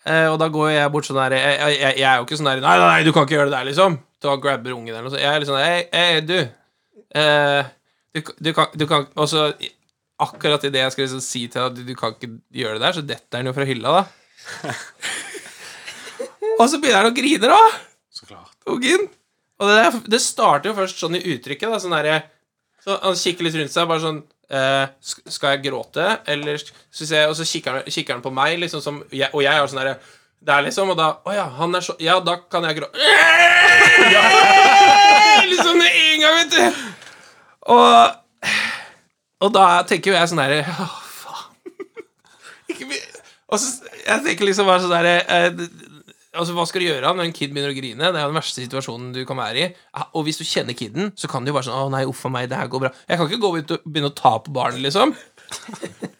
B: eh, og da går jo jeg bort sånn der jeg, jeg, jeg er jo ikke sånn der Nei, nei, nei, du kan ikke gjøre det der, liksom. Da grabber ungen eller noe sånt. Jeg er litt sånn Hei, hei, du. Eh, du, du kan Du kan Og så akkurat idet jeg skulle liksom si til deg at du, du kan ikke gjøre det der, så detter han jo fra hylla, da.
E: (laughs)
B: og så begynner han å grine, da.
E: Så klart.
B: Ungen. Og det, der, det starter jo først sånn i uttrykket. Da, sånn derre- så han kikker litt rundt seg, bare sånn eh, sk- Skal jeg gråte, eller skal vi se, Og så kikker han, kikker han på meg, liksom som jeg, Og jeg har sånn derre Der, liksom, og da Å ja, han er så Ja, da kan jeg gråte. (laughs) liksom med en gang, vet du. Og og da tenker jo jeg sånn derre Å, faen. (laughs) Ikke be- Og så Jeg tenker liksom bare sånn derre eh, d- d- Altså, hva skal du gjøre når en kid begynner å grine? Det er jo den verste situasjonen du kan være i. Ah, Og hvis du kjenner kiden, så kan du jo være sånn Å nei, uff a meg, det her går bra. Jeg kan ikke gå ut og begynne å ta på barnet, liksom.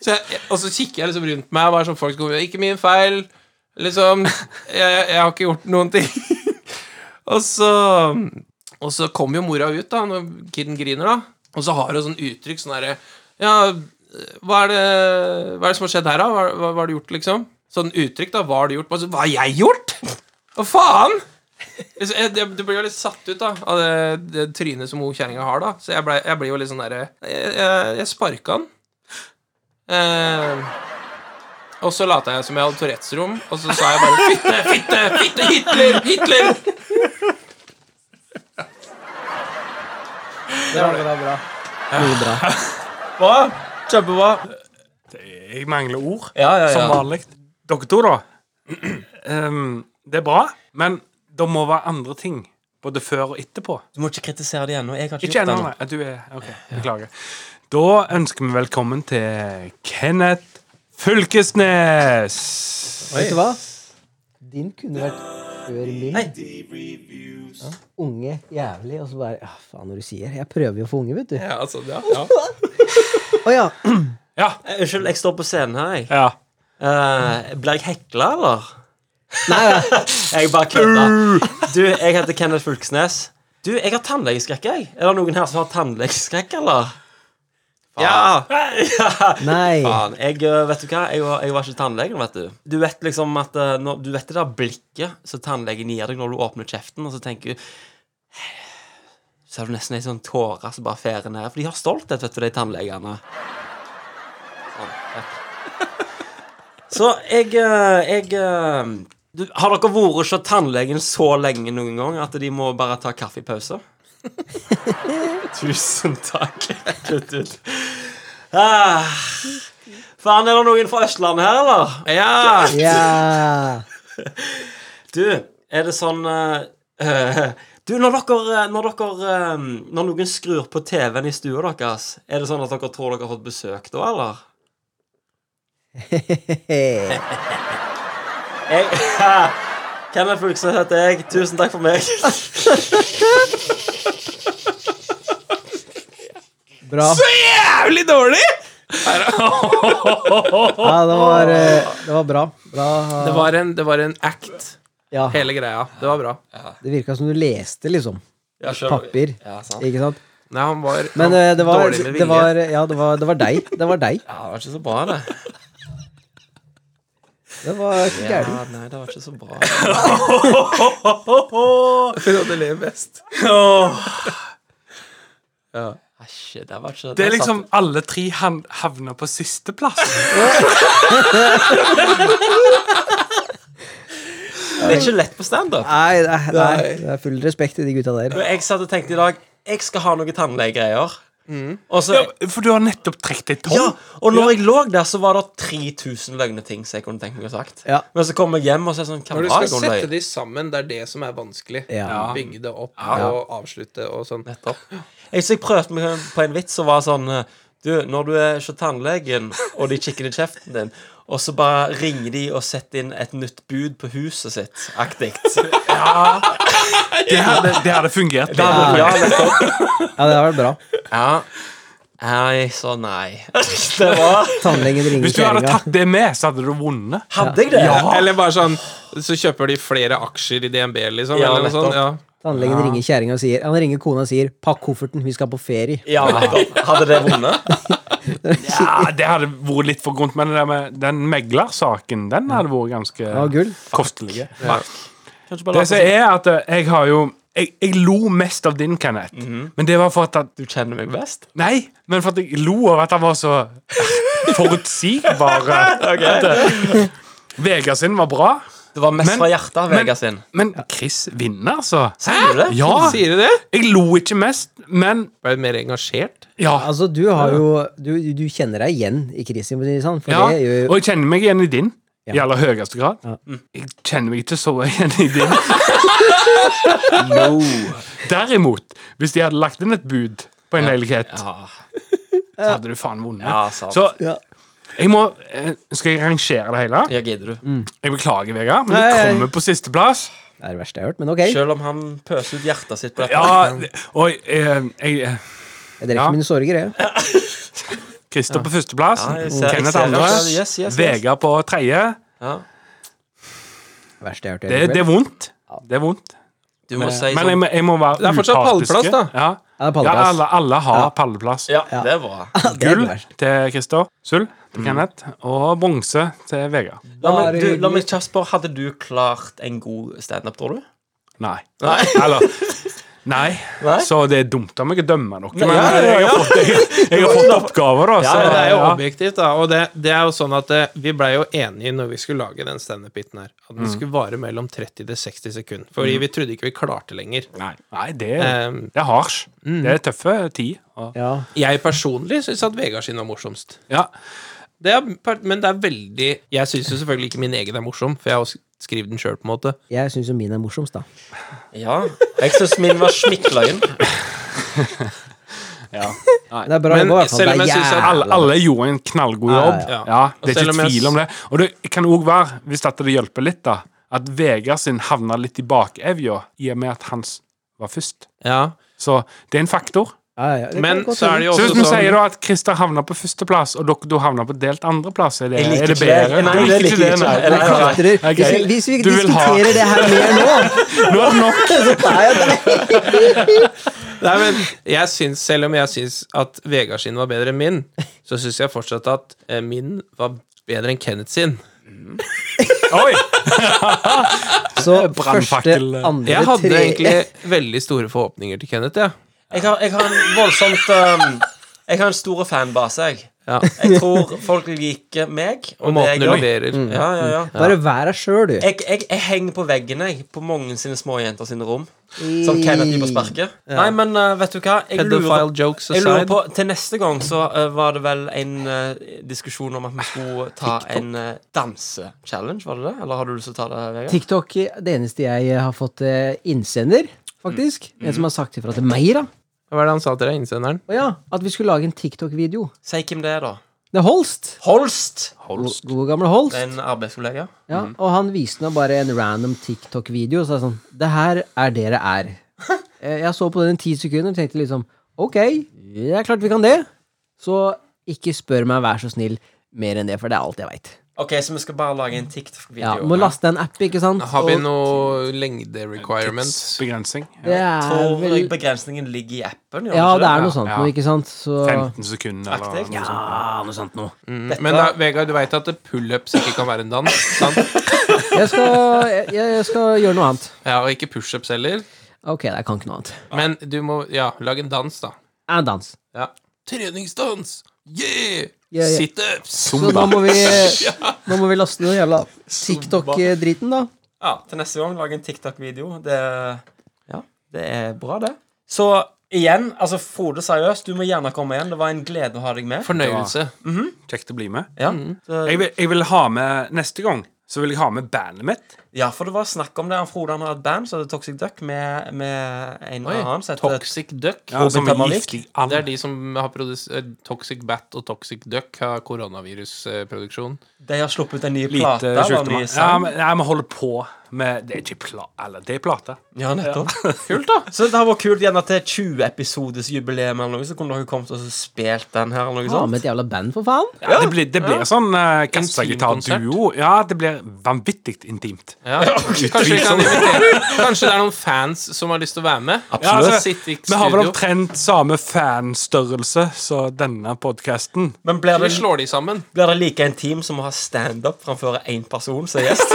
B: Så jeg, og så kikker jeg liksom rundt meg, bare sånn folk som kommer Ikke min feil. Liksom. Jeg, jeg, jeg har ikke gjort noen ting. (laughs) og så og så kommer jo mora ut da når kiden griner, da. Og så har hun sånn uttrykk sånn derre Ja, hva er, det, hva er det som har skjedd her, da? Hva, hva, hva har du gjort, liksom? Sånn uttrykk, da. Hva har du gjort? Altså, hva har jeg gjort?! Hva faen?! Liksom, jeg- jeg- Du blir jo litt satt ut da av det, det trynet som hun kjerringa har, da. Så jeg, ble, jeg blir jo litt sånn derre Jeg, jeg, jeg sparka han. Eh, og så lata jeg som jeg hadde Tourettes rom, og så sa jeg bare Fitte, fitte, fitte, Hitler, Hitler!
C: Det var bra, bra. Mye bra.
D: Bra. Kjempebra.
E: Jeg mangler ord,
D: Ja, ja, ja.
E: som vanlig. Dere to, da. Ehm, det er bra, men det må være andre ting. Både før og etterpå.
D: Du må ikke kritisere det ennå. Jeg har ikke, gjort
E: Ikke
D: det
E: ennå.
D: ennå.
E: nei. Du er OK, beklager. Da ønsker vi velkommen til Kenneth Fylkesnes.
C: Vet du hva? Din kunne vært før min. Ja. Unge jævlig, og så bare Ja, faen når du sier Jeg prøver jo å få unge, vet du.
B: Ja, altså, ja, ja.
C: Å ja.
E: Ja.
D: Eh, Unnskyld, jeg står på scenen her, jeg.
E: ja.
D: Eh, blir jeg hekla, eller?
C: Nei, nei.
D: Jeg bare kødder. Du, jeg heter Kenneth Fulksnes. Du, jeg har tannlegeskrekk, jeg. Er det noen her som har tannlegeskrekk, eller? Ja!
C: nei.
D: Faen. Jeg, eh, vet du hva? Jeg var, jeg var ikke tannlegen, vet du. Du vet liksom at eh, når, Du vet det der blikket som tannlegen gir deg når du åpner kjeften, og så tenker du Så har du nesten ei sånn tåre som bare færer ned. For de har stolthet, vet du, de tannlegene. Sånn, takk. Så jeg, eh, jeg eh, du, Har dere vært hos tannlegen så lenge noen gang at de må bare ta kaffepause? Tusen takk. Kutt ut. Ah. Faen, er det noen fra Østlandet her, eller?
B: Ja!
C: Ja.
D: Du, er det sånn eh, eh, (laughs) Du, når dere, eh, når dere eh, Når noen skrur på TV-en i stua deres, er det sånn at dere tror dere har fått besøk da, eller? Jeg, (laughs) Kenneth Fulksnes heter jeg. Tusen takk for meg.
C: Bra.
B: jævlig dårlig!
C: Ja, det var, eh, det var bra. bra.
B: Det var, en, det var en act,
C: Ja,
B: hele greia. Det var bra.
C: det virka som du leste, liksom.
D: Ja,
C: Papir.
D: Ja, sant.
C: Ikke sant?
B: Nei, han var,
C: Men eh,
B: han,
C: det var,
B: dårlig med
C: det
B: vilje.
C: var Ja, det var, det var deg. Det var deg.
D: (laughs) Ja, det var ikke så bra, det.
C: Det var ikke
D: Ja,
C: gærent.
D: nei, det var ikke så bra.
B: Hun hadde levd best.
D: Åh. Æsj, det var ikke
E: Det er liksom alle tre han- havner på
D: (laughs)
E: sisteplass.
D: satt- Det er ikke lett på standup.
C: Nei, nei, nei, det er full respekt til de gutta der.
D: Og Jeg satt og tenkte i dag Jeg skal ha noen tannlegegreier. Og så
E: Ja, For du har nettopp trukket deg tom.
D: Ja, og når jeg lå der, så var det 3000 løgne ting som jeg kunne tenkt meg å ha sagt.
C: Ja.
D: Men så kom jeg hjem, og så er det sånn Hva
B: Når du
D: var
B: skal
D: jeg
B: sette
D: løy?
B: de sammen, det er det som er vanskelig.
C: Ja.
B: Bygge det opp og avslutte og sånn.
D: Nettopp. Jeg, så jeg prøvde meg på en vits som var sånn eh, Du, når du er hos tannlegen, og de kikker i kjeften din, og så bare ringer de og setter inn et nytt bud på huset sitt, aktig.
E: Det hadde, det hadde fungert.
D: Ja, ja, nettopp.
C: Ja, det har vært bra.
D: ja. Nei, så nei. Det var
C: Tannlegen ringer
E: Hvis du hadde
C: kjerringa.
E: tatt det med, så hadde du vunnet.
D: Hadde jeg det?
B: Eller bare sånn Så kjøper de flere aksjer i DNB, liksom.
D: Ja,
B: eller noe sånt.
D: nettopp.
B: Ja.
C: Tannlegen ringer kjerringa og sier Han ringer kona og sier 'pakk kofferten, vi skal på ferie'.
D: Ja, nettopp. Hadde det vunnet?
C: (laughs)
E: Ja, Det hadde vært litt for grunt, men det der med den meglersaken, den hadde vært
C: Ja,
E: ganske
C: gull.
E: kostelig.
D: Kanskje bare
E: Det
D: la
E: som
D: oss-
E: er at eh, jeg har jo jeg, jeg lo mest av din, Kenneth. Men det var for at han-
D: Du kjenner meg best?
E: Nei, men for at jeg lo av at han var så (laughs) forutsigbar. At, eh, Vegard sin var bra,
D: Det var mest
E: Men-
D: fra hjertet, Vegard sin.
E: men Chris vinner, altså.
D: Sier du det?
E: Ja,
B: Sier de det?
E: jeg lo ikke mest, men
B: Ble du mer engasjert?
E: ja.
C: Altså, du har jo Du, du kjenner deg igjen i Kristin, for å si det sånn, for
E: ja.
C: det gjør jo
E: Og jeg kjenner meg igjen i din. I
C: Ja.
E: aller høyeste grad. Jeg kjenner meg ikke så igjen i din. Derimot, hvis de hadde lagt inn et bud på en leilighet,
D: Ja.
E: så hadde du faen vunnet.
D: Ja, sant.
E: Så
C: Ja.
E: jeg må eh, Skal jeg rangere det hele?
D: Ja, gidder du.
E: Jeg beklager, Vegard, men
C: Nei,
E: du
C: nei.
E: kommer på sisteplass.
C: Det er det verste jeg har hørt, men ok.
D: Selv om han pøser ut hjertet sitt på dette.
E: Ja, og eh, jeg eh,
C: Jeg deler
E: Ja.
C: ikke mine sorger, jeg.
E: Christer på førsteplass,
D: Ja, jeg ser- jeg
E: Kenneth
D: ser-
E: andre,
D: ja, yes, yes, yes.
E: Vegard på tredje.
D: Ja.
C: Det verste jeg har hørt.
E: Det,
C: i
E: det er
C: øyeblikk.
E: vondt. Det er vondt.
D: Du må si
E: Men jeg,
D: sånn
E: må- jeg må være
B: Det er fortsatt
E: upartiske.
B: pallplass, da.
E: Ja,
C: Ja, det er
E: ja
C: pallplass.
E: alle, alle har pallplass.
D: Ja, det er bra.
C: Det er
E: Gull
C: verst.
E: til Christer, sølv
D: Mm.
E: til Kenneth og bronse til Vegard.
D: La
C: Da er
D: meg,
C: det
D: du, la meg
C: hyggelig.
D: kjapt spørre, hadde du klart en god standup, tror du?
E: Nei.
B: (laughs)
E: Eller Nei.
D: Nei?
E: Så det er dumt av meg å dømme noe, men
D: ja, ja,
E: Jeg, har fått, jeg, jeg har fått oppgaver, da. Så,
B: Ja, det er jo
E: ja.
B: objektivt, da. Og det, det er jo sånn at eh, vi blei jo enige når vi skulle lage den standup-biten her, at den skulle vare mellom 30 til 60 sekunder. Fordi vi trodde ikke vi klarte lenger.
E: Nei, nei det,
B: Ehm.
E: det er harsh. Det er tøffe tid. og-
C: Ja.
B: Jeg personlig syns at Vegard sin var morsomst.
E: Ja.
B: Det er, part- men det er veldig Jeg syns jo selvfølgelig ikke min egen er morsom, for jeg har også skrevet den sjøl, på en måte.
C: Jeg syns jo min er morsomst, da.
D: Ja. Jeg syns min var smikkløgn.
C: Men det er bra
B: Men
C: jobba, i hvert fall.
B: selv om
C: Det er
B: jeg synes at
C: jævla
E: Alle, alle gjorde en knallgod
C: Ja,
E: jobb.
C: ja,
E: Ja,
B: ja.
E: Det er
B: Og selv om
E: ikke
B: jeg-
E: tvil om det. Og det kan òg være, hvis dette det hjelper litt, da, at Vegard sin havna litt i bakevja i og med at hans var først.
B: Ja.
E: Så det er en faktor.
C: Ja, ja, det kan
B: Men
C: godt
B: så er det jo
E: Så hvis
B: også
E: vi
B: sånn
E: sier da at Christer havna på førsteplass, og dere da havna på delt andreplass, er det,
D: Jeg liker
E: er det
D: ikke
E: bedre?
D: det. Nei,
E: Du
D: det liker jeg ikke.
E: nei.
D: Nei,
C: Jeg
D: nei, nei.
C: klatrer.
E: Ok.
C: Hvis- Hvis vi
E: Du vil ha-
C: diskuterer det her mer nå
E: Nå er det nok.
D: (laughs)
C: Nei, det-
B: Nei, men jeg syns, selv om jeg syns at Vegard sin var bedre enn min, så syns jeg fortsatt at eh, min var bedre enn Kenneth sin.
E: Oi!
C: Så første,
E: Brannfakkel.
C: andre,
B: Jeg hadde
C: tre
B: egentlig veldig store forhåpninger til Kenneth, jeg.
D: Jeg har, jeg har en voldsomt um, Jeg har en stor fanbase, jeg.
B: Ja.
D: Jeg tror folk liker meg.
B: Og
D: det
B: måten du
D: jeg gjør.
B: leverer
D: Ja, ja, ja.
C: (laughs) Bare vær deg sjøl, du.
D: Jeg, jeg, jeg henger på veggen, jeg, på mange sine småjenter sine rom. Som Kenneth gir på sparket. Nei, men uh, vet du hva? Jeg lurer,
B: Pedophile jokes
D: jeg lurer
B: aside.
D: på Til neste gang så uh, var det vel en uh, diskusjon om at vi skulle ta en uh, danse-challenge, var det det? Eller har du lyst til å ta det, Vegard?
C: TikTok det eneste jeg har fått eh, innsender, faktisk. En som har sagt ifra til meg, da.
B: Hva er det han sa til deg, innsenderen?
C: Å ja, at vi skulle lage en TikTok-video.
D: Si hvem det er, da.
C: Det er Holst.
D: Holst!
C: Holst. Gode, gamle Holst.
D: En arbeidskollega.
C: Ja, og han viste nå bare en random TikTok-video og sa sånn Det her er det det er. Eh, Jeg så på den i ti sekunder og tenkte liksom Ok, det er klart vi kan det. Så ikke spør meg, vær så snill, mer enn det, for det er alt jeg veit.
D: Ok, så vi skal bare lage en
C: Ja,
D: TikTok-video.
C: må laste en app, ikke sant?
B: Har vi
C: Og
B: noe lengde-requirement?
E: Begrensning.
C: Det er
D: Tror
C: vel
D: jeg begrensningen ligger i appen. gjør
C: Ja,
D: ikke
C: det er noe
E: Ja,
C: sånt
E: ja.
C: noe, ikke sant? Så
E: 15 sekunder eller noe
D: Aktivt.
E: sånt.
C: Ja, noe sånt noe.
B: Men da, Vegard, du veit at pullups ikke kan være en dans? Sant?
C: Jeg skal, jeg, jeg skal gjøre noe annet.
B: Ja, og ikke pushups heller.
C: Ok, jeg kan ikke noe annet.
B: Men du må ja, lage en dans, da.
C: er en dans.
B: Treningsdans! Yeah!
C: Ja, ja.
B: Situps!
C: Så nå må vi, nå må vi laste ned den jævla TikTok-driten, da.
D: Ja, til neste gang lage en TikTok-video. Det, ja, det er bra, det. Så igjen, altså Frode, seriøst, du må gjerne komme igjen. Det var en glede å ha deg med.
B: Fornøyelse.
E: Kjekt å bli med.
D: Ja,
C: Mm.
D: så,
E: Jeg vil, jeg vil ha med neste gang. Så vil jeg ha med bandet mitt.
D: ja for det var snakk om det. Han Frode han har et band som heter Toxic Duck, med, med en
B: Oi,
D: annen som heter
B: Toxic Duck.
E: Ja, som er
D: Pemmervik?
E: giftig and.
B: Det er de som har produsert Toxic Bat og Toxic Duck har koronavirusproduksjon.
D: De har sluppet en ny plate.
E: Lite
D: og
E: sjukdom.
D: ny
E: Ja,
D: sang.
E: men ja, vi holder på med Det er ikke pla... Eller, det er plate.
D: Ja, nettopp. Kult, da. (laughs) Så det har vært kult gjerne til 20-episodesjubileum eller noe, så kunne dere kommet og så spilt den her eller noe
C: Ha
D: sånt.
C: med et jævla band, for faen.
E: Ja, det blir, det blir sånn uh, kassagitarduo. Ja, det blir vanvittig intimt.
B: Ja. Kanskje vi kan invitere Kanskje det er noen fans som har lyst til å være med?
E: Ja,
B: Ja,
E: altså,
B: Sitte i
E: vi har vel
B: studio.
E: omtrent samme fanstørrelse som denne podkasten.
D: Men blir
B: Vi
D: det,
B: slår de sammen.
D: blir det like intim som å ha standup framfor én person som gjest?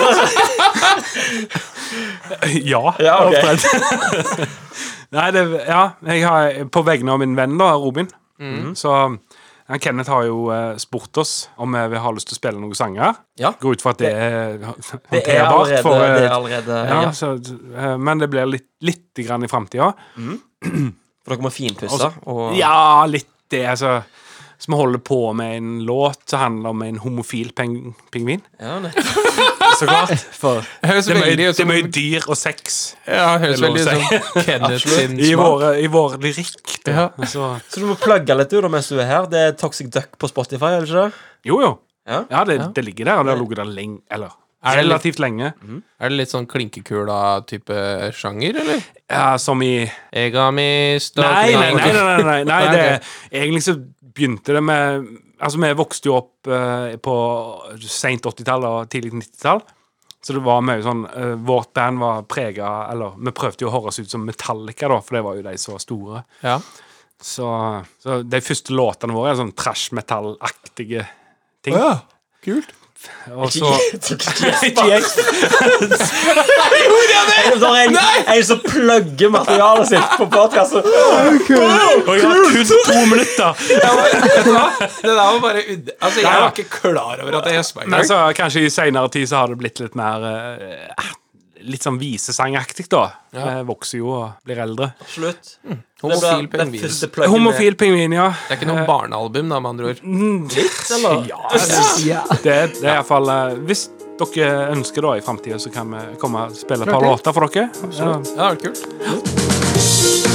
E: Ja.
D: Ja, ok.
E: omtrent. (laughs) Nei, det Ja, jeg har på vegne av min venn, da, Robin,
D: Mm.
E: så han Kenneth har jo eh, spurt oss om eh, vi har lyst til å spille noen sanger.
D: Ja.
E: Går ut fra at det er
D: Det er
E: håndterbart.
D: allerede,
E: for, eh,
D: det er allerede
E: ja,
D: ja.
E: så, eh, men det blir litt, litt grann i framtida.
D: For dere må finpusse. Og,
E: Ja, litt det, altså. Så vi holder på med en låt som handler om en homofil peng pingvin.
D: Ja, nei.
E: Så klart. For
B: Høres
E: det er mye,
B: veldig ut
E: det er
B: som
E: mye dyr og sex
B: Ja, høres
E: Det er lov
B: veldig
E: å
B: ut som Kenneth sin
E: i
B: smak.
E: vår, i vår lyrikk. da. Så,
D: Så du må plugge litt du da mens du er her. Det er Toxic Duck på Spotify, er det ikke det?
E: jo, jo.
D: Ja.
E: Ja, det, det ligger der, og det har ligget der lenge. Eller
B: det litt-
E: relativt lenge.
B: Er det litt sånn klinkekula-type sjanger, eller?
E: Ja, som i
B: Egami
E: Nei, nei, nei. nei, nei, (laughs) nei,
B: Nei,
E: det, egentlig så begynte det med Altså, vi vokste jo opp eh, på seint 80-tall og tidlig 90-tall. Så det var mye sånn eh, Vårt band var prega Eller vi prøvde jo å høres ut som Metallica, da, for det var jo de som var store.
B: Ja.
E: Så, så de første låtene våre er sånn trash metal-aktige ting.
B: Kult.
E: Og så
D: Ikke jeg. Det er en, en som plugger materialet sitt på podkasten.
E: Og jeg har kun to minutter!
B: Det der var bare ud... Altså, jeg var ikke klar over at jeg gjøspa
E: Men så kanskje i seinere tid så har det blitt litt mer eh, eh, Litt sånn visesangaktig, da. Jeg vokser jo og blir eldre.
D: Slutt. Det ble
B: Homofil
D: den
B: pingvin.
D: første
B: Det
D: pluggen.
E: Homofil pingvin, ja.
B: er ikke noe barnealbum, da, med andre ord.
D: eller?
E: Ja, det, det er i hvert fall eh, Hvis dere ønsker da i framtida, så kan vi komme og spille et par låter for dere. Så,
B: Ja, det var kult.
D: med.